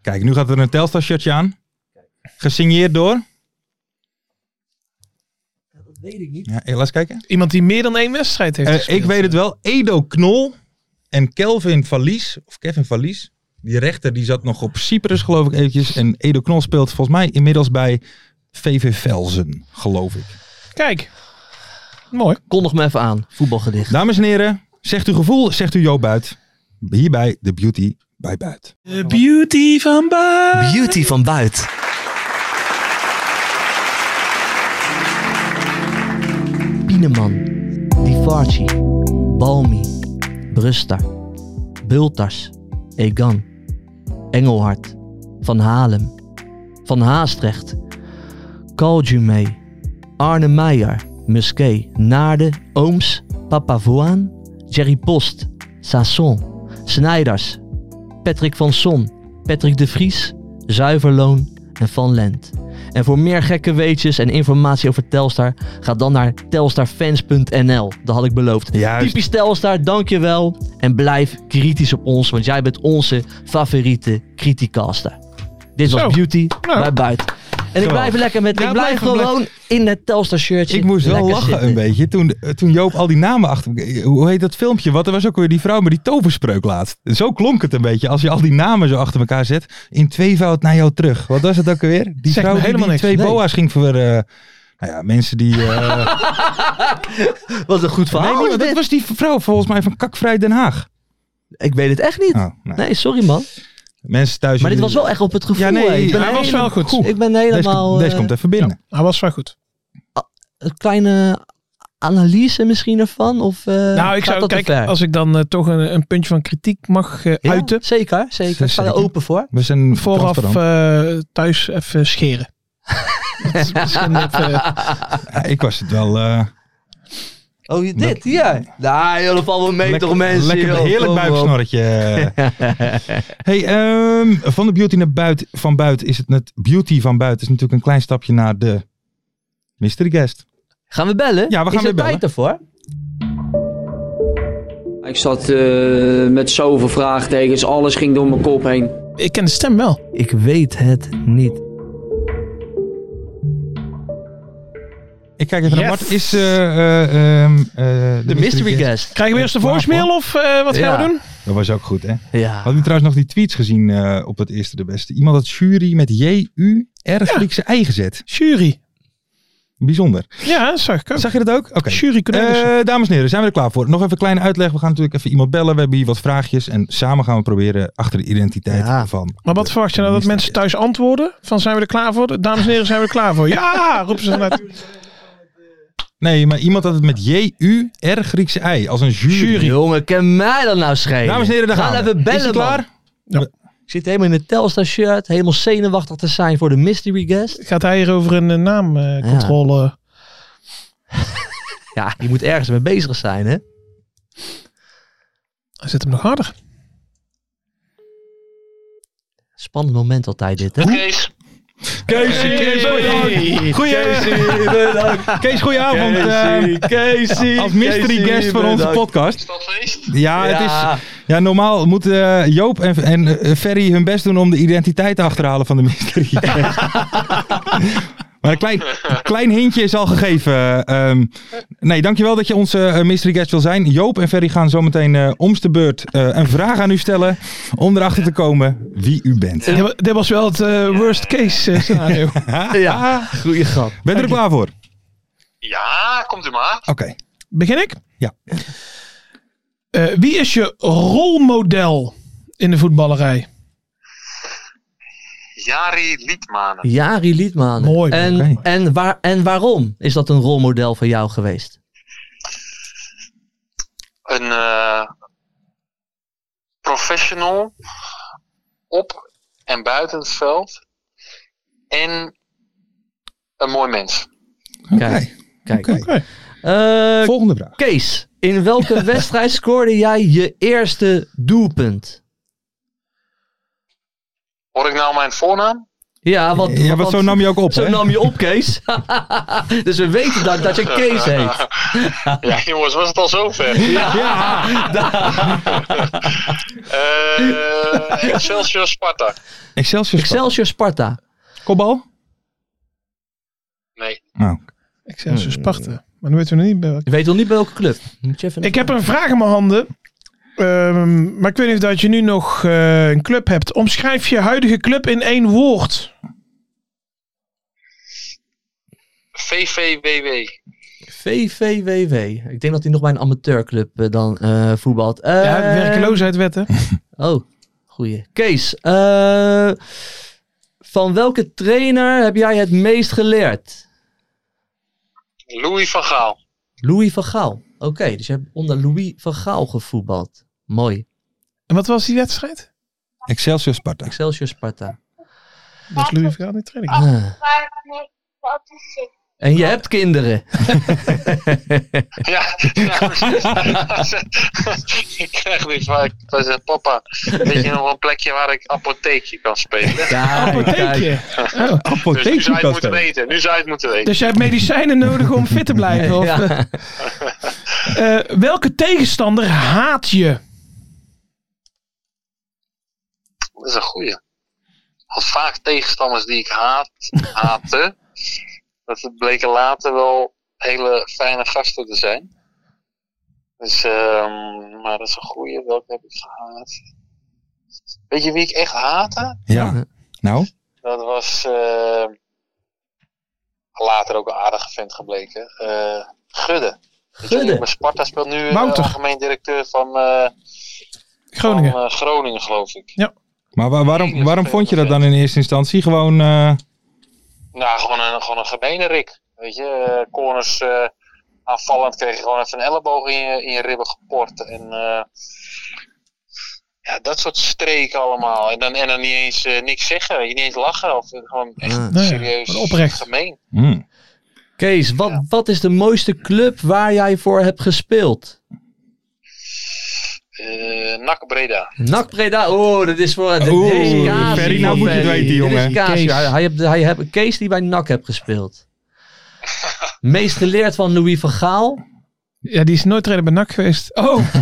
Kijk, nu gaat er een Telstar-shirtje aan. Gesigneerd door... Dat weet ik niet. Ja, laat eens kijken. Iemand die meer dan één wedstrijd heeft Eh, gespeeld. ik weet het wel. Edo Knol en Kelvin Valies. Of Kevin Valies. Die rechter die zat nog op Cyprus, geloof ik, eventjes. En Edo Knol speelt volgens mij inmiddels bij VV Velzen, geloof ik. Kijk. Mooi. Kondig me even aan, voetbalgedicht. Dames en heren, zegt uw gevoel, zegt u Jo Buit. Hierbij de beauty bij Buit. De beauty van Baar. Beauty van buiten. Pieneman, Divarci, Balmi, Brustar, Bultars, Egan, Engelhard, Van Halem, Van Haastrecht, Kaljume, Arne Meijer, Musquet, Naarden, Ooms, Papavoan, Jerry Post, Sasson, Snijders, Patrick van Son, Patrick de Vries, Zuiverloon en Van Lent. En voor meer gekke weetjes en informatie over Telstar, ga dan naar telstarfans.nl. Dat had ik beloofd. Juist. Typisch Telstar, dankjewel. En blijf kritisch op ons, want jij bent onze favoriete criticaster. Dit was Zo. Beauty Nou. bij Buiten. En ik Zo. blijf lekker met, Ja, ik blijf blijf- gewoon in het Telstar shirtje. Ik moest wel lekker lachen zitten. een beetje toen, eh, toen Joop al die namen achter... Hoe heet dat filmpje? Wat er was ook weer die vrouw met die toverspreuk laatst. Zo klonk het een beetje als je al die namen zo achter elkaar zet. In tweevoud naar jou terug. Wat was het ook weer? Die Zegt vrouw die, me nou, helemaal die niks. twee Nee. boa's ging voor... eh, nou ja, mensen die... eh Wat een goed nee, verhaal. niemand. is dat dit. was die vrouw volgens mij van Kakvrij Den Haag. Ik weet het echt niet. Oh, nou, Nee, sorry man. Mensen thuis... Maar dit was jullie- wel echt op het gevoel. Ja, nee, hè. ik ben hij was helemaal- wel goed. Ik ben Deze, helemaal... deze eh, komt even binnen. Hij was wel goed. Een kleine analyse misschien ervan? Of, eh, nou, gaat ik zou dat te kijken, ver? als ik dan eh, toch een, een puntje van kritiek mag eh, Ja, uiten. Zeker, zeker. Ik sta er Zeker. open voor. We zijn Vooraf transparant. eh, thuis even scheren. Dat is misschien even, Ja, ik was het wel... eh, Oh, dit, hier. Nou, jullie vallen wel mee Lekker- toch mensen. Lekker joh. heerlijk Kom op. buiksnorretje. hey, ehm, van de beauty naar buiten, van buiten is het net beauty van buiten is natuurlijk een klein stapje naar de mystery guest. Gaan we bellen? Ja, we gaan Is er weer bellen. tijd ervoor? Ik zat eh, met zoveel vraagtekens, alles ging door mijn kop heen. Ik ken de stem wel. Ik weet het niet. Ik kijk even naar Yes. Bart. Is eh, eh, ehm, eh, De mystery guest. Krijgen we eerst een voicemail of eh, wat gaan Ja. we doen? Dat was ook goed, hè? Ja. Hadden jullie trouwens nog die tweets gezien eh, op het eerste de beste? Iemand had jury met J-U erg Griekse ei gezet. Jury. Bijzonder. Ja, dat zag ik ook. Zag je dat ook? Oké. Jury dus- Cornelissen. Eh, dames en heren, zijn we er klaar voor? Nog even een kleine uitleg. We gaan natuurlijk even iemand bellen. We hebben hier wat vraagjes. En samen gaan we proberen achter de identiteit Ja. van. maar wat verwacht je nou dat mensen thuis antwoorden? Van zijn we er klaar voor? Dames en heren, zijn we er klaar voor? Ja, roepen ze vanuit. Nee, maar iemand had het met J-U-R Griekse ei. Als een jury. Jongen, ken mij dan nou schelen. Dames en heren, daar gaan Ga we. even Is bellen, het klaar? man. Ik zit helemaal in mijn Telstar shirt. Helemaal zenuwachtig te zijn voor de mystery guest. Gaat hij hier over een eh, naamcontrole? Ja, je moet ergens mee bezig zijn, hè? Hij zet hem nog harder. Spannend moment altijd dit, hè? Kees, Kees, Kees, goeie- Goeie- Kees, goedenavond. eh, als mystery guest van onze podcast. is dat feest? Ja, het is, ja normaal moeten eh, Joop en, en eh, Ferry hun best doen om de identiteit te achterhalen van de mystery guest. maar een klein, een klein hintje is al gegeven. Ehm nee, dankjewel dat je onze eh, mystery guest wil zijn. Joop en Ferry gaan zometeen eh omste beurt eh, een vraag aan u stellen. Om erachter te komen wie u bent. Dit wa- Dit was wel het eh, worst case eh, scenario. Ja, goeie grap. Bent u er klaar voor? Oké. Ja, komt u maar. Begin ik? Ja. Eh, wie is je rolmodel in de voetballerij? Jari Liedmanen. Jari Liedman. Mooi, En, oké. en, waar, en waarom is dat een rolmodel voor jou geweest? een eh, professional op en buiten het veld en een mooi mens. Kijk, kijk. Oké. Eh, Volgende vraag. Kees, in welke wedstrijd scoorde jij je eerste doelpunt? Hoor ik nou mijn voornaam? Ja, want, Ja, want zo nam je ook op, zo hè? nam je op, Kees. dus we weten dat, dat je Kees heet. Ja, jongens, was het al zover? Ja. Eh, Excelsior Sparta. Excelsior. Sparta. Excelsior Sparta. Kopbal? Nee. Nou, Excelsior Hmm. Sparta. Maar dan weten we nog niet bij welke. Je weet nog niet bij welke club. Moet je even Ik heb een vraag in mijn handen. Ehm, maar ik weet niet of dat je nu nog eh, een club hebt. Omschrijf je huidige club in één woord. VVWW. VVWW. Ik denk dat hij nog bij een amateurclub eh, dan eh, voetbalt. Eh, Ja, werkeloosheid wetten. Oh, goeie. Kees, eh, van welke trainer heb jij het meest geleerd? Louis van Gaal. Louis van Gaal. Oké, dus je hebt onder Louis van Gaal gevoetbald. Mooi. En wat was die wedstrijd? Excelsior Sparta. Excelsior Sparta. Dat is Louis van Gaal niet training. Ah. En je hebt kinderen. Ja, ja precies. ik krijg nu vaak. Hij zegt, papa, weet je nog een plekje waar ik apotheekje kan spelen? Kijk, kijk. Apotheekje. Oh. Dus nu zou je het moeten Apotheekkasten. weten. Nu zou je het moeten weten. Dus je hebt medicijnen nodig om fit te blijven. Of, Ja. eh, welke tegenstander haat je? Dat is een goeie. Had vaak tegenstanders die ik haat, haatte. dat bleken later wel hele fijne gasten te zijn. Dus, ehm, maar dat is een goeie. Welke heb ik gehaat? Weet je wie ik echt haatte? Ja. Nou, Dat was eh, later ook een aardige vent gebleken. Eh, Gudde. Gudde. Bij Sparta speelt nu eh, Wouter. algemeen directeur van, eh, Groningen. van eh, Groningen, geloof ik. maar wa- waarom, waarom vond je dat dan in eerste instantie? Gewoon, eh, Nou, gewoon een, gewoon een gemene rik. Weet je, eh, corners eh, aanvallend kreeg je gewoon even een elleboog in je, in je ribben geport. En eh, ja, dat soort streken allemaal. En dan, en dan niet eens eh, niks zeggen, weet je, niet eens lachen. Of eh, gewoon echt Ah. Nou ja, serieus gewoon oprecht. gemeen. hmm. Kees, wat, wat is de mooiste club waar jij voor hebt gespeeld? Eh Nak Breda. NAC Breda. Oh, dat is voor... dit- dit Oeh, is Kaas Ferry, hier, nou moet je het Ferry. weten, Dit is jongen. Kaas. Kees. Hij, hij, hebt- hij hebt- Kees die bij NAC hebt gespeeld. Meest geleerd van Louis van Gaal. Ja, die is nooit trainer bij NAC geweest. Oh,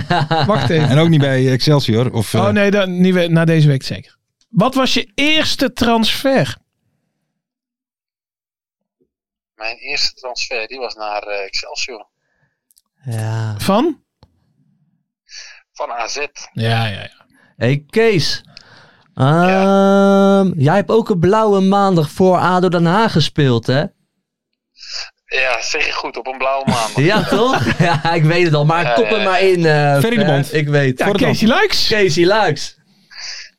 wacht even. En ook niet bij Excelsior. Of, eh, Oh nee, dan, niet, we- na deze week zeker. Wat was je eerste transfer? Mijn eerste transfer die was naar eh, Excelsior Ja. Van? van AZ. Ja, ja, ja. Hey Kees. Ehm, Jij hebt ook een blauwe maandag voor ADO Den Haag gespeeld, hè? Ja, zeg je goed, op een blauwe maandag. Ja, toch? ja, ik weet het al. Maar kop er maar in. eh Ferry de Fer. Bond. Ik weet. ja Voor de Casey Luiks. Casey Luiks.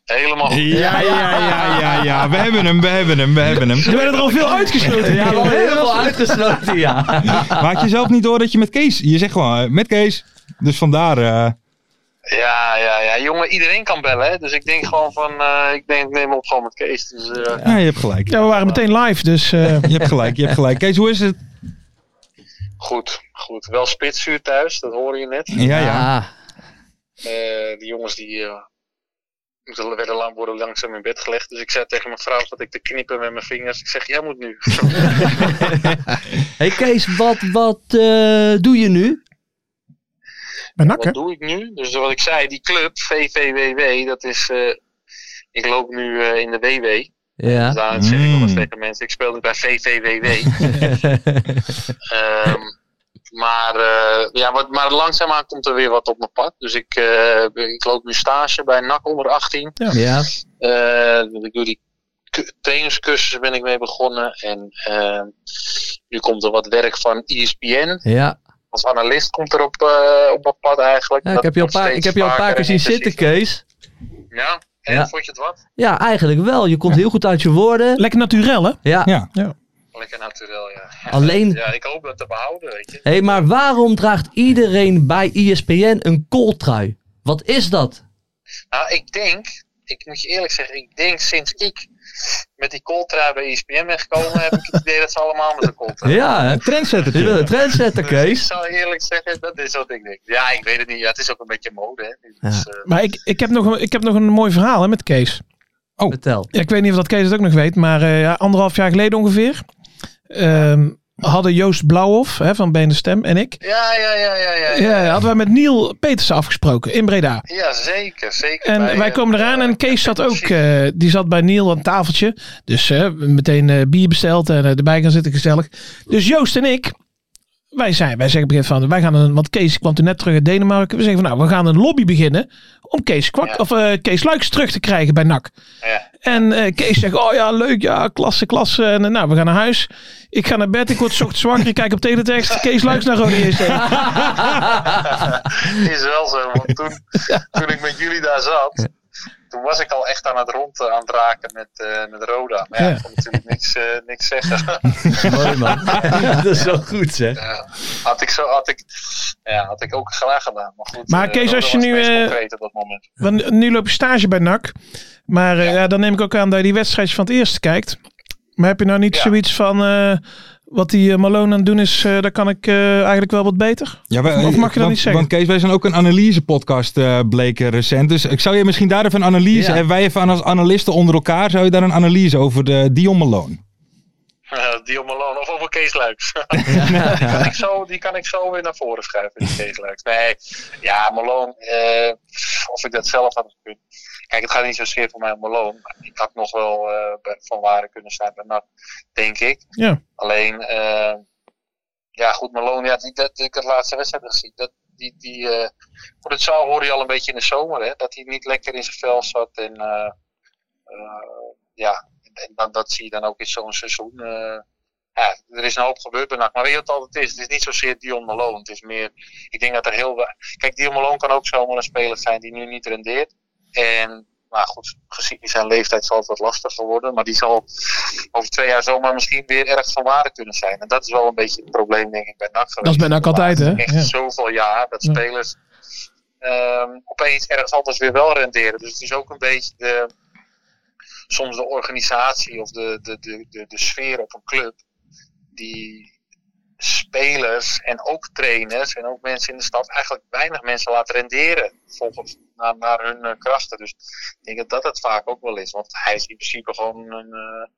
Helemaal goed. Ja, ja, ja, ja, ja. We hebben hem, we hebben hem, we hebben Er hem. werden er al veel uitgesloten. Ja, wel heel heel veel uitgesloten, ja. Maak je zelf niet door dat je met Kees... Je zegt gewoon, eh, met Kees. Dus vandaar... eh, Ja, ja, ja. Jongen, iedereen kan bellen, hè. Dus ik denk gewoon van... eh, ik denk, ik neem op gewoon met Kees. Dus, eh, ja, nou, je hebt gelijk. Ja, we waren meteen live, dus... eh, Je hebt gelijk, je hebt gelijk. Kees, hoe is het? Goed, goed. Wel spitsuur thuis, dat hoorde je net. Ja, ja. Eh, die jongens die... eh moeten- werden lang, worden langzaam in bed gelegd. Dus ik zei tegen mijn vrouw dat ik te knippen met mijn vingers. Ik zeg, jij moet nu. Hey Kees, wat, wat eh, doe je nu? Bij NAC, hè? Wat doe ik nu? Dus wat ik zei, die club, VVWW, dat is... eh, ik loop nu eh, in de WW. Dus Ja. daar zeg ik wel eens Mm. tegen mensen. Ik speelde bij VVWW. Ehm, maar, eh, ja, wat, maar langzaamaan komt er weer wat op mijn pad. Dus ik, eh, ik loop nu stage bij NAC onder 18. ja. Eh, ik doe die cu- trainingscursus ben ik mee begonnen. En eh, nu komt er wat werk van E ESPN. Ja. Als analist komt er op, eh, op mijn pad eigenlijk. Ja, ik Dat heb je al wordt een paar, ik steeds heb je al een paar vaker keer zien en zitten, intensiever. Kees. Ja, en Ja. vond je het wat? Ja, eigenlijk wel. Je komt heel goed uit je woorden. Lekker naturel, hè? Ja. Ja. Lekker natuurlijk, ja. Alleen- Ja, ik hoop dat te behouden, weet je. Hé, hey, maar waarom draagt iedereen bij E ESPN een kooltrui? Wat is dat? Nou, ik denk, ik moet je eerlijk zeggen, ik denk sinds ik met die kooltrui bij E ESPN ben gekomen, heb ik het idee dat ze allemaal met een kooltrui. Ja, hè? Trendsetter. Je wil een trendsetter, Dus ik Kees. zou eerlijk zeggen, dat is wat ik denk. Ja, ik weet het niet. Ja, het is ook een beetje mode, hè. Dus, eh, Maar ik, ik, heb nog een, ik heb nog een mooi verhaal hè, met Kees. Vertel. Ja, ik weet niet of dat Kees het ook nog weet, maar eh, ja, anderhalf jaar geleden ongeveer ehm, hadden Joost Blauwhof hè, van Benen Stem en ik, ja, ja, ja, ja, ja. ja. ja, hadden wij met Neil Petersen afgesproken in Breda. Ja, zeker, zeker. En Bij, wij eh, komen eraan en Kees zat ook, precies. eh, die zat bij Neil aan het tafeltje. Dus eh, meteen eh, bier besteld en eh, erbij gaan zitten, gezellig. Dus Joost en ik, wij, zijn, wij zeggen begin van, wij gaan een, want Kees kwam toen net terug uit Denemarken. We zeggen van, nou, we gaan een lobby beginnen om Kees, Kwak, Ja. of, eh, Kees Luiks terug te krijgen bij NAC. Ja. En eh, Kees zegt, oh ja, leuk, ja, klasse, klasse. En eh, nou, we gaan naar huis. Ik ga naar bed, ik word 's ochtends zwakker, ik kijk op teletext. Kees Luiks naar Rode JC. is wel zo, want toen, toen ik met jullie daar zat, toen was ik al echt aan het rond eh, aan het raken met, eh, met Roda. Maar ja, Ja. ik kon natuurlijk niks, eh, niks zeggen. Ah, Mooi man. dat is wel goed, zeg. Ja, had ik zo, had ik, ja, had ik ook graag gedaan. Maar, goed, Maar eh, Kees, Roda als je was nu, meest eh, concreet op dat moment. Want nu loop je stage bij NAC. Maar eh, ja, dan neem ik ook aan dat je die wedstrijdjes van het eerste kijkt. Maar heb je nou niet Ja. zoiets van... eh, wat die eh, Malone aan het doen is, eh daar kan ik eh, eigenlijk wel wat beter? Ja, wij- Of mag je dat want- niet zeggen? Want Kees, wij zijn ook een analyse-podcast eh bleken recent. Dus ik zou je misschien daar even een analyse... Ja. En wij even aan- als analisten onder elkaar... zou je daar een analyse over de Dion Malone? Eh, Dion Malone of over Kees Luiks. die, kan ik zo, die kan ik zo weer naar voren schuiven, die Kees Luiks. Nee, ja, Malone, eh, of ik dat zelf had gekund. Kijk, het gaat niet zozeer voor mij om Malone. maar Ik had nog wel eh, bij- van waarde kunnen zijn bij NAC, denk ik. Ja. Alleen, eh, ja goed, Malone, ja, die, dat, ik het laatste wedstrijd heb gezien. Dat, die, die, eh, voor het zaal hoorde je al een beetje in de zomer, hè, dat hij niet lekker in zijn vel zat. En, eh, eh, ja, en dan, dat zie je dan ook in zo'n seizoen. eh, ja, er is een hoop gebeurd bij NAC. Maar weet je wat het altijd is? Het is niet zozeer Dion Malone. Het is meer, ik denk dat er heel... we- Kijk, Dion Malone kan ook zomaar een speler zijn die nu niet rendeert. En, nou goed, gezien zijn leeftijd zal het wat lastiger worden. Maar die zal over twee jaar zomaar misschien weer erg van waarde kunnen zijn. En dat is wel een beetje het probleem, denk ik, bij NAC geweest. Dat is bij NAC De laatste altijd, hè? Echt Ja. zoveel jaar dat Ja. spelers ehm, opeens ergens anders weer wel renderen. Dus het is ook een beetje de soms de organisatie of de, de, de, de, de sfeer op een club die spelers en ook trainers en ook mensen in de stad eigenlijk weinig mensen laat renderen volgens naar, naar hun eh, krachten. Dus ik denk dat dat het vaak ook wel is, want hij is in principe gewoon een, eh,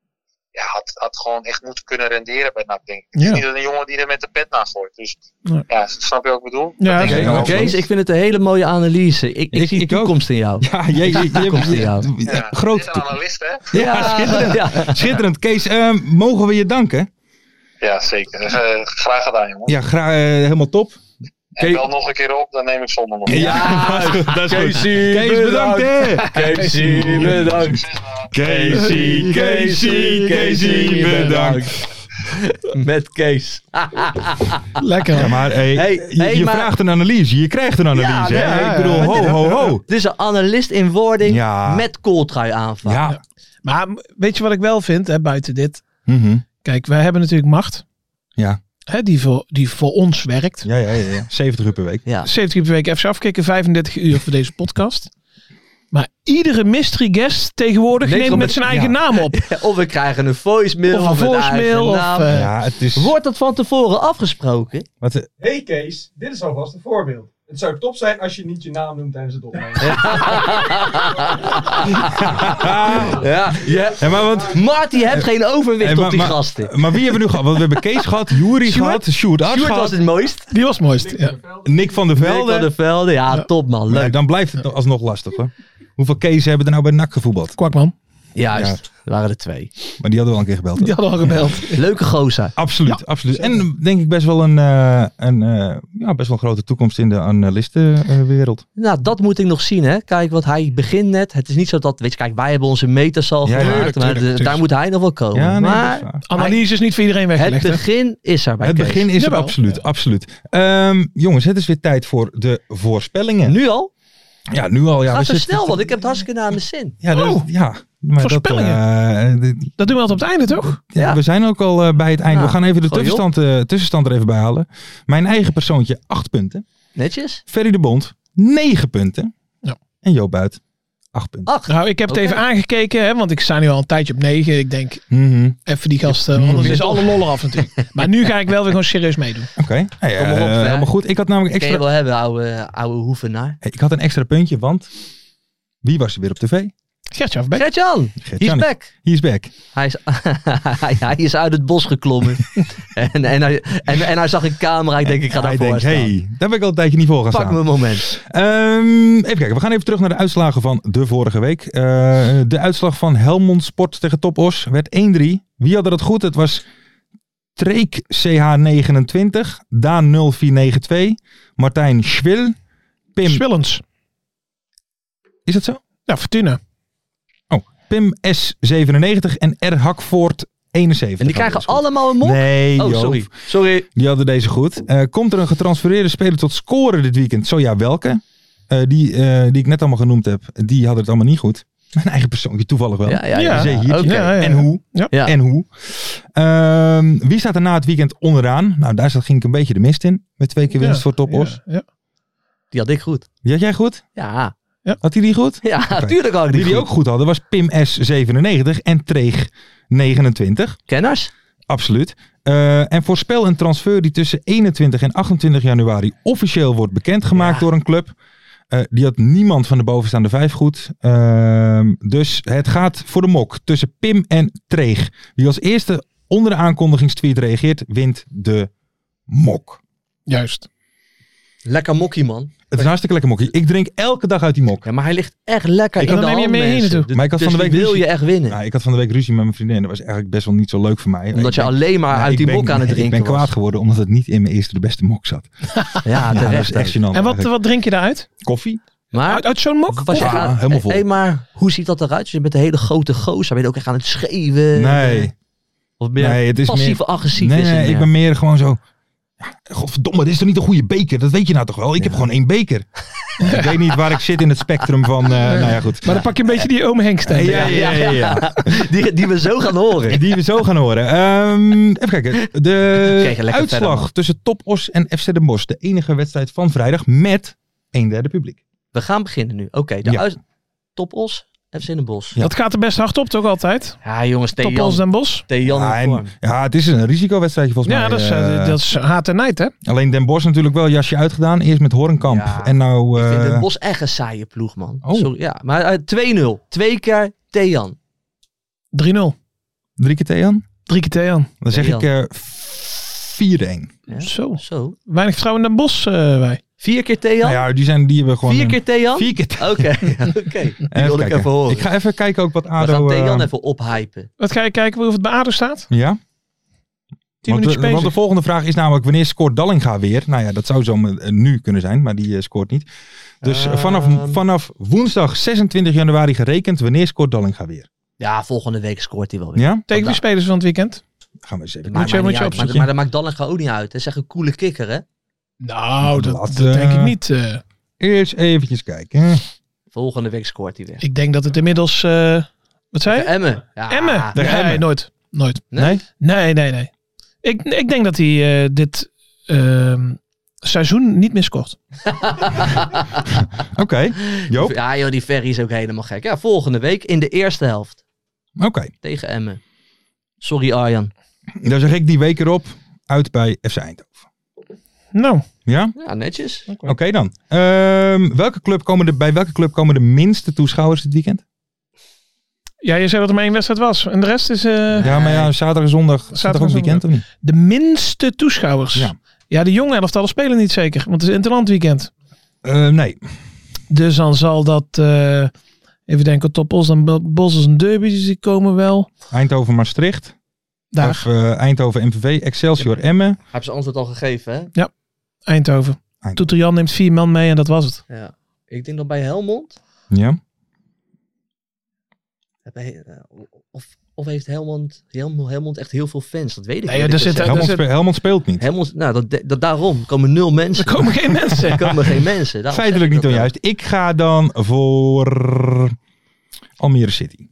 ja, had, had gewoon echt moeten kunnen renderen bij NAC, denk ik. Ja. Het is Niet een jongen die er met de pet naar gooit. Dus Nee. ja, snap je wat ik bedoel? Ja, dat denk ik oké, wel. oké. Kees, ik vind het een hele mooie analyse. Ik, ik, Ik- zie ik ook. toekomst in jou. Ja, jezus. Je, Komt hebt- ie aan. ja, Ja, groot. dit is een analist, hè? Ja, schitterend. Ja. Schitterend. Kees, eh, mogen we je danken? Ja, zeker. Dus, eh, graag gedaan, jongen. Ja, gra- eh, helemaal top. en bel nog een keer op, dan neem ik zondag nog. dat is goed. Dat is goed. Kees, bedankt. hè. Casey, bedankt. Succes, man. Casey, Casey, Casey, bedankt. Met Kees. Lekker. Ja, maar hey, Hey, je, hey, je maar- vraagt een analyse, je krijgt een analyse. nee, hè? ja, ik bedoel, ja. ho, ho, ho. Dus een analist in wording Ja. met kooltrui aanval. Ja. Maar weet je wat ik wel vind, hè, buiten dit? Mhm. Kijk, wij hebben natuurlijk macht. Ja. Hè, die, voor, die voor ons werkt. Ja, ja, ja, ja. 70 uur per week. Ja. 70 uur per week even afkicken, 35 uur voor deze podcast. Maar iedere mystery guest tegenwoordig Leek neemt wel met met- zijn eigen naam op. Of we krijgen een voicemail. Of een met eigen voicemail, of, naam. eh, Ja, het is... Wordt dat van tevoren afgesproken? Wat, eh, Hey Kees, dit is alvast een voorbeeld. Het zou top zijn als je niet je naam noemt tijdens het opnemen. Ja. ja. ja, maar, want, Marty hebt geen overwicht eh, maar, op die maar- gasten. maar wie hebben we nu gehad? Want we hebben Kees gehad, Jury Sjoerd? gehad, Sjoerd Arts Stuart gehad, was het mooist. Die was het mooist. Ja. Nick van der Nick van Velde. de Velde. Ja, top man. Maar ja, Leuk. dan blijft het alsnog lastig hoor. Hoeveel Kees hebben er nou bij NAC gevoetbald? Kwakman. Juist. Er waren er twee. Maar die hadden we al een keer gebeld. hè? Die hadden al gebeld. Leuke gozer. Absoluut, absoluut. En denk ik best wel een, eh, een eh, ja, best wel een grote toekomst in de analistenwereld. Nou, dat moet ik nog zien, hè. Kijk, want hij begint net. Het is niet zo dat, weet je, kijk, wij hebben onze meters al Ja, gemaakt. tuurlijk, maar de- tuurlijk, tuurlijk. daar moet hij nog wel komen. ja, nee, dat maar is waar. Analyse is niet voor iedereen het weggelegd. hè? begin is er bij het Kees. begin is er Jawel. absoluut, absoluut. Ehm, jongens, het is weer tijd voor de voorspellingen. Nu al? ja, nu al. Ja, Ga we zo zitten- snel, want ik heb het hartstikke naar mijn zin. Ja, dat is- Oh, ja. Maar dat, voorspellingen. eh, dit- Dat doen we altijd op het einde, toch? ja, Ja. We zijn ook al eh, bij het einde. Ja, We gaan even de gooi op. tussenstand, eh, tussenstand er even bij halen. Mijn eigen persoontje, acht punten. Netjes? Ferry de Bond, negen punten. Ja. En Joop Buit, acht punten. Ach, Nou, ik heb het Oké. even aangekeken, hè, want ik sta nu al een tijdje op 9. Ik denk, Oh. Mhm. even die gasten, want anders is alle lol eraf natuurlijk. Maar nu ga ik wel weer gewoon serieus meedoen. Oké, Nou ja, Kom maar op, eh, hè. helemaal goed. Ik had namelijk kan je extra, wel hebben, oude, oude hoevenaar. ik had een extra puntje, want wie was er weer op tv? Gertje Afbeek. Gert-Jan, he's Jan. back. He is back. Hij is, hij, hij is uit het bos geklommen. en, en, hij, en, en hij zag een camera. Ik denk, ik ga Hij daarvoor denkt, staan. hey, daar ben ik al een tijdje niet voor gaan Pak staan. me een moment. Ehm, even kijken, we gaan even terug naar de uitslagen van de vorige week. Eh, de uitslag van Helmond Sport tegen Top Os werd 1-3. Wie hadden dat goed? Het was Treek CH29, Daan 0492, Martijn Schwil, Pim... Swillens. Is dat zo? Ja, Fortuna. Pim S97 en R Hakvoort 71. En die krijgen Hadden dat goed. allemaal een mok. Nee, oh, Joop. sorry. Sorry. Die hadden deze goed. Eh, komt er een getransfereerde speler tot scoren dit weekend? Zo ja, welke? Eh, die, eh, die ik net allemaal genoemd heb, die hadden het allemaal niet goed. Mijn eigen persoontje toevallig wel. Ja, ja, Ja, ja. Zee hiertje. Oké. Ja, ja, En hoe? Ja. Ja. En hoe? Ehm, wie staat er na het weekend onderaan? Nou, daar zat- ging ik een beetje de mist in. Met twee keer winst Ja, voor Top Os. Ja, ja. Die had ik goed. Die had jij goed? Ja, Had hij die goed? ja Oké. tuurlijk had ik Die die, die ook goed hadden was Pim S97 en Treeg 29. Kenners? Absoluut. Eh, en voorspel een transfer die tussen 21 en 28 januari officieel wordt bekendgemaakt Ja. door een club. Eh, die had niemand van de bovenstaande vijf goed. Ehm, dus het gaat voor de mok tussen Pim en Treeg. Wie als eerste onder de aankondigingstweet reageert, wint de mok. Juist. Oh, Lekker mokkie, man. Het is een hartstikke lekker mokje. Ik drink elke dag uit die mok. Ja, maar hij ligt echt lekker Ik in kan- de dan hand, neem je hem mee mensen. hier naartoe. Maar ik had dus van de die week wil je echt winnen. Nou, ik had van de week ruzie met mijn vriendin. Dat was eigenlijk best wel niet zo leuk voor mij. omdat Ik je ben- alleen maar Nou, uit ik die ben- mok aan het nee, drinken Ik ben kwaad geworden omdat het niet in mijn eerste de beste mok zat. was. Ja, Ja, dat Ah, terecht. is echt gênant. ook. En wat, eigenlijk. Ah, wat drink je daaruit? koffie? Uit, Maar... uit zo'n mok? Was je Ja, aan- helemaal vol. Hé, maar hoe ziet dat eruit? Dus je bent een hele grote gozer. Ben je ook echt aan het schreeuwen? Nee, Of meer nee, het is passief meer... agressief Nee, is het nee, ik meer. ben meer gewoon zo... Ja, godverdomme, dit is toch niet een goede beker? Dat weet je nou toch wel? Ik heb gewoon één beker. Ja, ik weet niet waar ik zit in het spectrum van... eh, nou ja, goed. Maar dan pak je een beetje die oom Henk ja, stem. ja, ja, ja, ja. die, die we zo gaan horen. Die we zo gaan horen. Ehm, even kijken. De Kijk, lekker uitslag verder, man. tussen Top Os en FC Den Bosch. De enige wedstrijd van vrijdag met een derde publiek. We gaan beginnen nu. Oké, de Ja. uit... Top Os, FC Den Bosch. Ja. Dat gaat er best hard op, toch altijd? Ja, jongens, tegen Top ons Jan, Den Bos. tegen Jan Ja, in en, vorm. ja, het is een risicowedstrijdje volgens Ja, mij. dat is, eh, eh, dat is haat en nijd, hè? Alleen Den Bosch natuurlijk wel jasje uitgedaan. Eerst met Horenkamp. Ja. En nou... Ik vind eh, Den Bosch echt een saaie ploeg, man. Oh. Sorry, ja. Maar eh, 2-0. Twee keer Thean. 3-0. Drie keer Thean? Drie keer Thean. Dan zeg Thean. ik eh 4-1. Ja. Zo. Zo. Weinig vertrouwen in Den Bos eh wij. Vier keer Thean? Nou ja, die, zijn, die hebben gewoon... eh, Vier keer Thean? Vier keer Thean. Oké, oké. Die wil ik kijken. even horen. Ik ga even kijken ook wat We ADO... gaan eh, Thean even ophypen. Wat ga je kijken hoe het bij ADO staat? Ja? Tien want, minuten de, want de bezig. volgende vraag is namelijk wanneer scoort Dallinga weer? Nou ja, dat zou zo met- eh, nu kunnen zijn, maar die eh, scoort niet. Dus eh, vanaf, Ehm. vanaf woensdag 26 januari gerekend, wanneer scoort Dallinga weer? Ja, volgende week scoort hij wel weer. Ja? Tegen wie spelen ze van het weekend? Gaan we eens even Maar, Moet je- maar, moet je niet uit. maar, opzoeken. maar dat maakt Dallinga ook niet uit. Dat is echt een coole kikker, hè? Nou, dat, Laat, dat denk eh, ik niet. eh. eerst eventjes kijken. Volgende week scoort hij weer. ik denk dat het inmiddels... eh, wat zei je? Emmen. Ja. Emmen. de Nee, Emmen. nooit. Nooit. Nee? Nee, nee, nee. Ik, ik denk dat hij eh, dit ehm, seizoen niet meer scoort. Oké, Joop. Oké. Ja, joh, die Ferry is ook helemaal gek. Ja, volgende week in de eerste helft tegen Emmen. Sorry, Arjan. Dan zeg ik die week erop uit bij FC Eindhoven. Nou, Ja? Ja, netjes. Oké dan. Ehm, welke club komen er, bij welke club komen de minste toeschouwers dit weekend? ja, je zei dat er maar één wedstrijd was. En de rest is eh, Ja, maar ja, zaterdag en zondag. Zaterdag Zaterdag ook en weekend of niet? de minste toeschouwers. Ja. Ja, de jonge elftallen spelen niet zeker, want het is Interland weekend. Eh, nee. Dus dan zal dat, eh, even denken, Top Os en Bo- Bos is een derby, dus die komen wel. Eindhoven-Maastricht. Daar, Of eh, Eindhoven MVV, Excelsior Emmen. Heb ze antwoord al gegeven, hè? Eindhoven. Eindhoven. Toeter Jan neemt vier man mee en dat was het. Ja. Ik denk dat bij Helmond. Ja. bij- eh, Of, of heeft Helmond, Helmond, Helmond echt heel veel fans? Dat weet ik Nee, niet. ja, daar zit- Helmond, is het- spe- Helmond speelt niet. Helmond, nou, dat, de- dat, daarom Er komen nul mensen. Er komen geen mensen. Er komen geen mensen. Daarom Feitelijk zeg niet ik dat onjuist. Ik ga dan voor Almere City.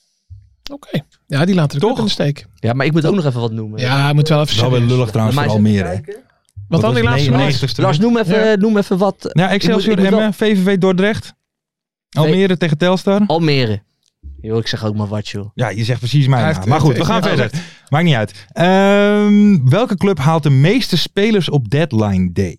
Oké. Ja, die laten de Toch? kop in de steek. dan. Ja, maar ik moet ook nog even wat noemen. Ja, moet wel even Wel weer serieus. lullig trouwens voor Maar- Almere. hè. Wat dan Dat die was laatste man? 90ste. Lars, noem even, noem even wat. Ja, Excelsior ik moet wel- Emmen, VVV Dordrecht. Almere tegen Telstar. Almere. Joh, ik zeg ook maar wat, joh. Ja, je zegt precies mijn Hij naam. heeft- Maar goed, we heeft- gaan heeft- verder. Maakt niet uit. Ehm, welke club haalt de meeste spelers op deadline day?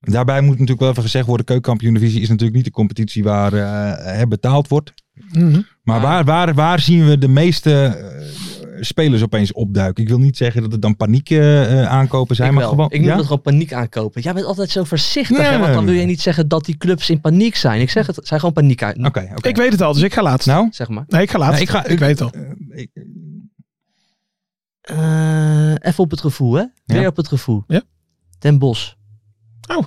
Daarbij moet natuurlijk wel even gezegd worden, keukenkampioen-divisie is natuurlijk niet de competitie waar eh, er betaald wordt. Mhm. Maar Ah. waar, waar, waar zien we de meeste eh, spelers opeens opduiken? Ik wil niet zeggen dat het dan paniek eh, eh, aankopen zijn, ik maar wel. gewoon. ik noem ja? dat gewoon paniek aankopen. Jij bent altijd zo voorzichtig, hè, Nee. want dan wil je niet zeggen dat die clubs in paniek zijn. Ik zeg het, het zijn gewoon paniek aan. Oké, oké. Ik weet het al, dus ik ga laatst. Nou, Zeg maar. Nee, ik ga laatst. Nee, ik, ik ga- ik weet het al. eh, ik- Eh, even op het gevoel, hè? Weer op het gevoel. Ja. Ten Bos. ik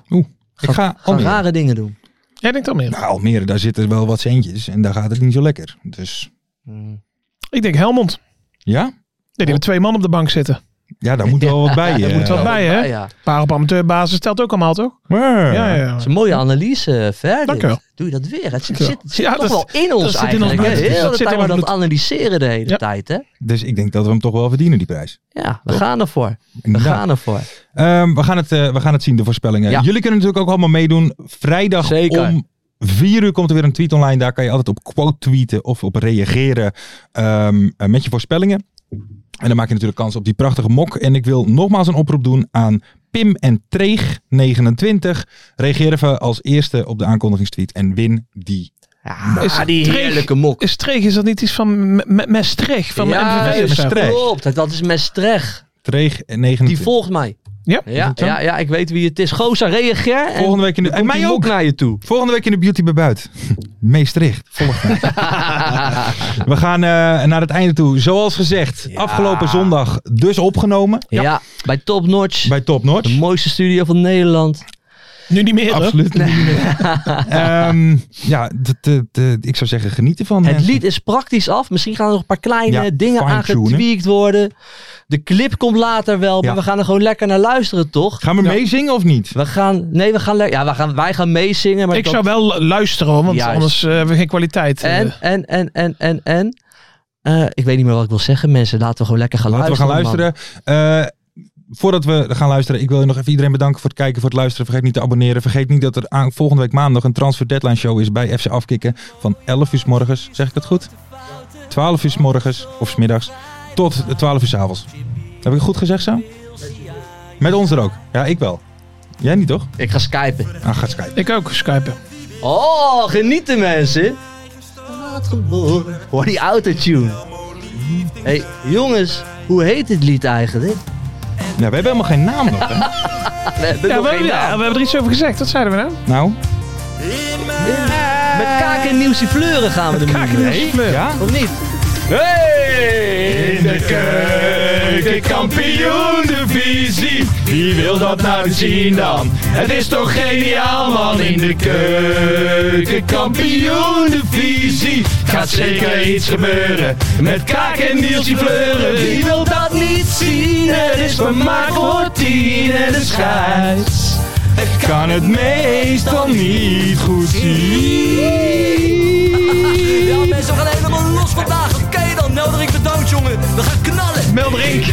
ga Gaan Almere. rare dingen doen. Jij denkt al meer. Nou, Almere, daar zitten wel wat centjes en daar gaat het niet zo lekker. Dus Ik denk Helmond. Nee, ja, die hebben twee man op de bank zitten. ja daar moet wel wat bij. Daar eh, moet wel bij. hè? Ja, ja. Paar op amateurbasis telt ook allemaal, toch? maar- Ja, ja. ja. Dat is een mooie analyse, Ver. Dank je wel. Doe je dat weer? Het zit, je wel. zit, zit Ja, toch dat- wel in ons zit in ons eigenlijk. hè? bloed. Heel Dat de zit tijd in maar ons dat bloed. analyseren de hele Ja. tijd, hè? Dus ik denk dat we hem toch wel verdienen, die prijs. Ja, we gaan ervoor. We Inderdaad. gaan ervoor. Ehm, we, gaan het, eh, we gaan het zien, de voorspellingen. Ja. Jullie kunnen natuurlijk ook allemaal meedoen. Vrijdag Zeker. om vier uur komt er weer een tweet online. Daar kan je altijd op quote tweeten of op reageren ehm, eh, met je voorspellingen. En dan maak je natuurlijk kans op die prachtige mok. En ik wil nogmaals een oproep doen aan Pim en Treeg 29. Reageer even als eerste op de aankondigingstweet en win die. Ja, Is die Dreeg- heerlijke mok. Is Streeg, is dat niet iets van M- M- Maastricht? Van MVV of zo? Maastricht. klopt. Dat- Dat is Maastricht. Treeg Die 29. volgt mij. Ja? Ja, zo? ja, ja, ik weet wie het is. Goza, reageer. En Volgende week in de- dan en komt mij die mok ook. naar je toe. Volgende week in de Beauty bij Buit. Meestricht. Volg mij. We gaan eh, naar het einde toe. Zoals gezegd, Ja. afgelopen zondag dus opgenomen. Ja. bij Top Notch. Bij Top Notch. De mooiste studio van Nederland. Nu niet meer, hoor. Absoluut. niet meer. Ehm, ja, dat, eh, dat- ik zou zeggen, genieten van Het lied is praktisch af. Misschien gaan er nog een paar kleine Ja, dingen aan fine-tunen. getweakt worden. De clip komt later wel, maar Ja. we gaan er gewoon lekker naar luisteren, toch? Gaan we meezingen of niet? We gaan, nee, we gaan, le- ja, we gaan, wij gaan meezingen. Maar Ik dat- zou wel lu- luisteren, hoor, want Juist. anders eh, hebben we geen kwaliteit. eh. En, en, en, en, en, en. Eh, ik weet niet meer wat ik wil zeggen, mensen. Laten we gewoon lekker gaan Nou, Laten we gaan luisteren. man. luisteren. Eh, voordat we gaan luisteren, ik wil nog even iedereen bedanken voor het kijken, voor het luisteren. Vergeet niet te abonneren. Vergeet niet dat er aan, volgende week maandag een transfer deadline show is bij FC Afkikken. Van 11 uur 's morgens, zeg ik dat goed? 12 uur 's morgens of 's middags tot eh, 12 uur 's avonds. Heb ik het goed gezegd zo? Met ons er ook. Ja, ik wel. Jij niet toch? Ik ga skypen. Ah, ga skypen. Ik ook, skypen. Oh, genieten mensen. Hoor die autotune. hey, jongens, hoe heet dit lied eigenlijk? Ja, we hebben helemaal geen naam nog, hè? We hebben Ja, nog we, geen hebben, ja, naam. we hebben er iets over gezegd. Wat zeiden we nou? Nou, Met kaak en nieuwsie fleuren gaan we de muur in. nee. Ja? Of niet? In de keuken, kampioen divisie. Wie wil dat nou zien dan? Het is toch geniaal man. In de keuken, kampioen divisie. Gaat zeker iets gebeuren. Met kaak en Nielsie Fleuren. Wie wil dat niet zien? Het is vermaakt voor tien en de scheids. Kan het meestal niet goed zien. Ja, mensen, we gaan helemaal los vandaag. Oké dan, Nelderink bedankt, jongen. We gaan knallen. Meldrink.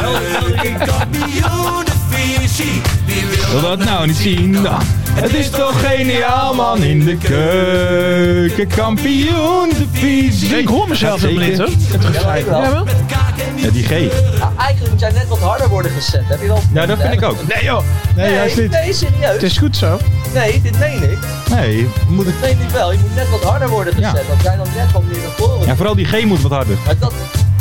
Nelderink, kampioen, de visie. Wie wil Wil dat nou niet zien dan? Het is toch geniaal man in de keuken, kampioen de visie. Ik hoor mezelf Gaat helemaal niet, zeker. hoor. Het ik wel. Ja, wel? met kaak en Ja, die G. Nou, eigenlijk moet jij net wat harder worden gezet. Heb je wel? Ja, dat vind ik ook. Nee joh. Nee, juist niet. Nee, serieus. Het is goed zo. Nee, dit meen ik. Nee, moet ik... Dat meen ik wel. Je moet net wat harder worden gezet. Ja. Dat jij dan net wat meer naar voren. Ja, vooral die G moet wat harder. Maar dat...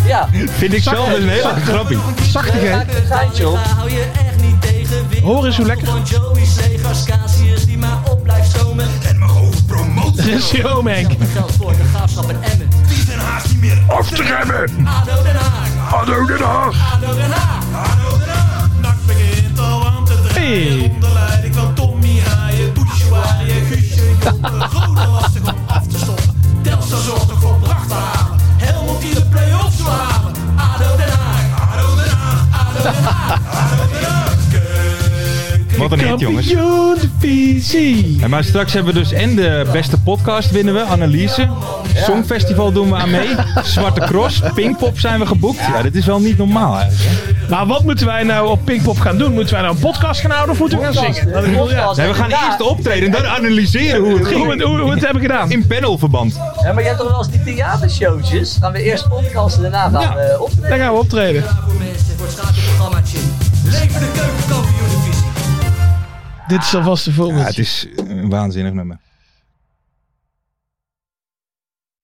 Ja, Vind ik zelf een hele grappie. Zachte nee, maak G. er een geintje op. hou je echt niet tegen. Weer Hoor eens hoe lekker. Van Joey's legers, Casius die maar op blijft stomen. En mijn hoofd promoten. Dit is Joom, Henk. Geld voor de graafschap en Emmen. Die is Den Haag niet meer af te remmen. ADO Den Haag. ADO Den Haag. ADO Den Haag. Nak begint al aan te draaien. Hey. Onder leiding van Tommy Haaien. Bouchoirie, Guusje, Jonker. Rode lastig om af te stoppen. Telstra zorgt nog voor pracht te halen. Helmond die de play-offs wil halen. ADO Den Haag. ADO Den Haag. ADO Den Haag. ADO Den Haag. Wat een hit jongens. Kampioen de visie. Ja, maar straks hebben we dus en de beste podcast winnen we, Anneliese. Songfestival doen we aan mee. Zwarte Cross, Pinkpop zijn we geboekt. Ja, dit is wel niet normaal eigenlijk. hè. Maar wat moeten wij nou op Pinkpop gaan doen? Moeten wij nou een podcast gaan houden of moeten we gaan zingen? Dat ik bedoel, ja. Podcast, Nee, we gaan ja. eerst optreden en dan analyseren hoe het Hoe, ging. het- hoe, hoe het hebben we gedaan? In panelverband. Ja, maar je hebt toch wel eens die theatershowtjes? Gaan we eerst podcasten, daarna gaan we optreden. Dan gaan we optreden. Bravo mensen voor het schakelprogrammaatje. Leven de keukenkampioen divisie. Dit is alvast de Ja, voorbeeld. het is een waanzinnig nummer.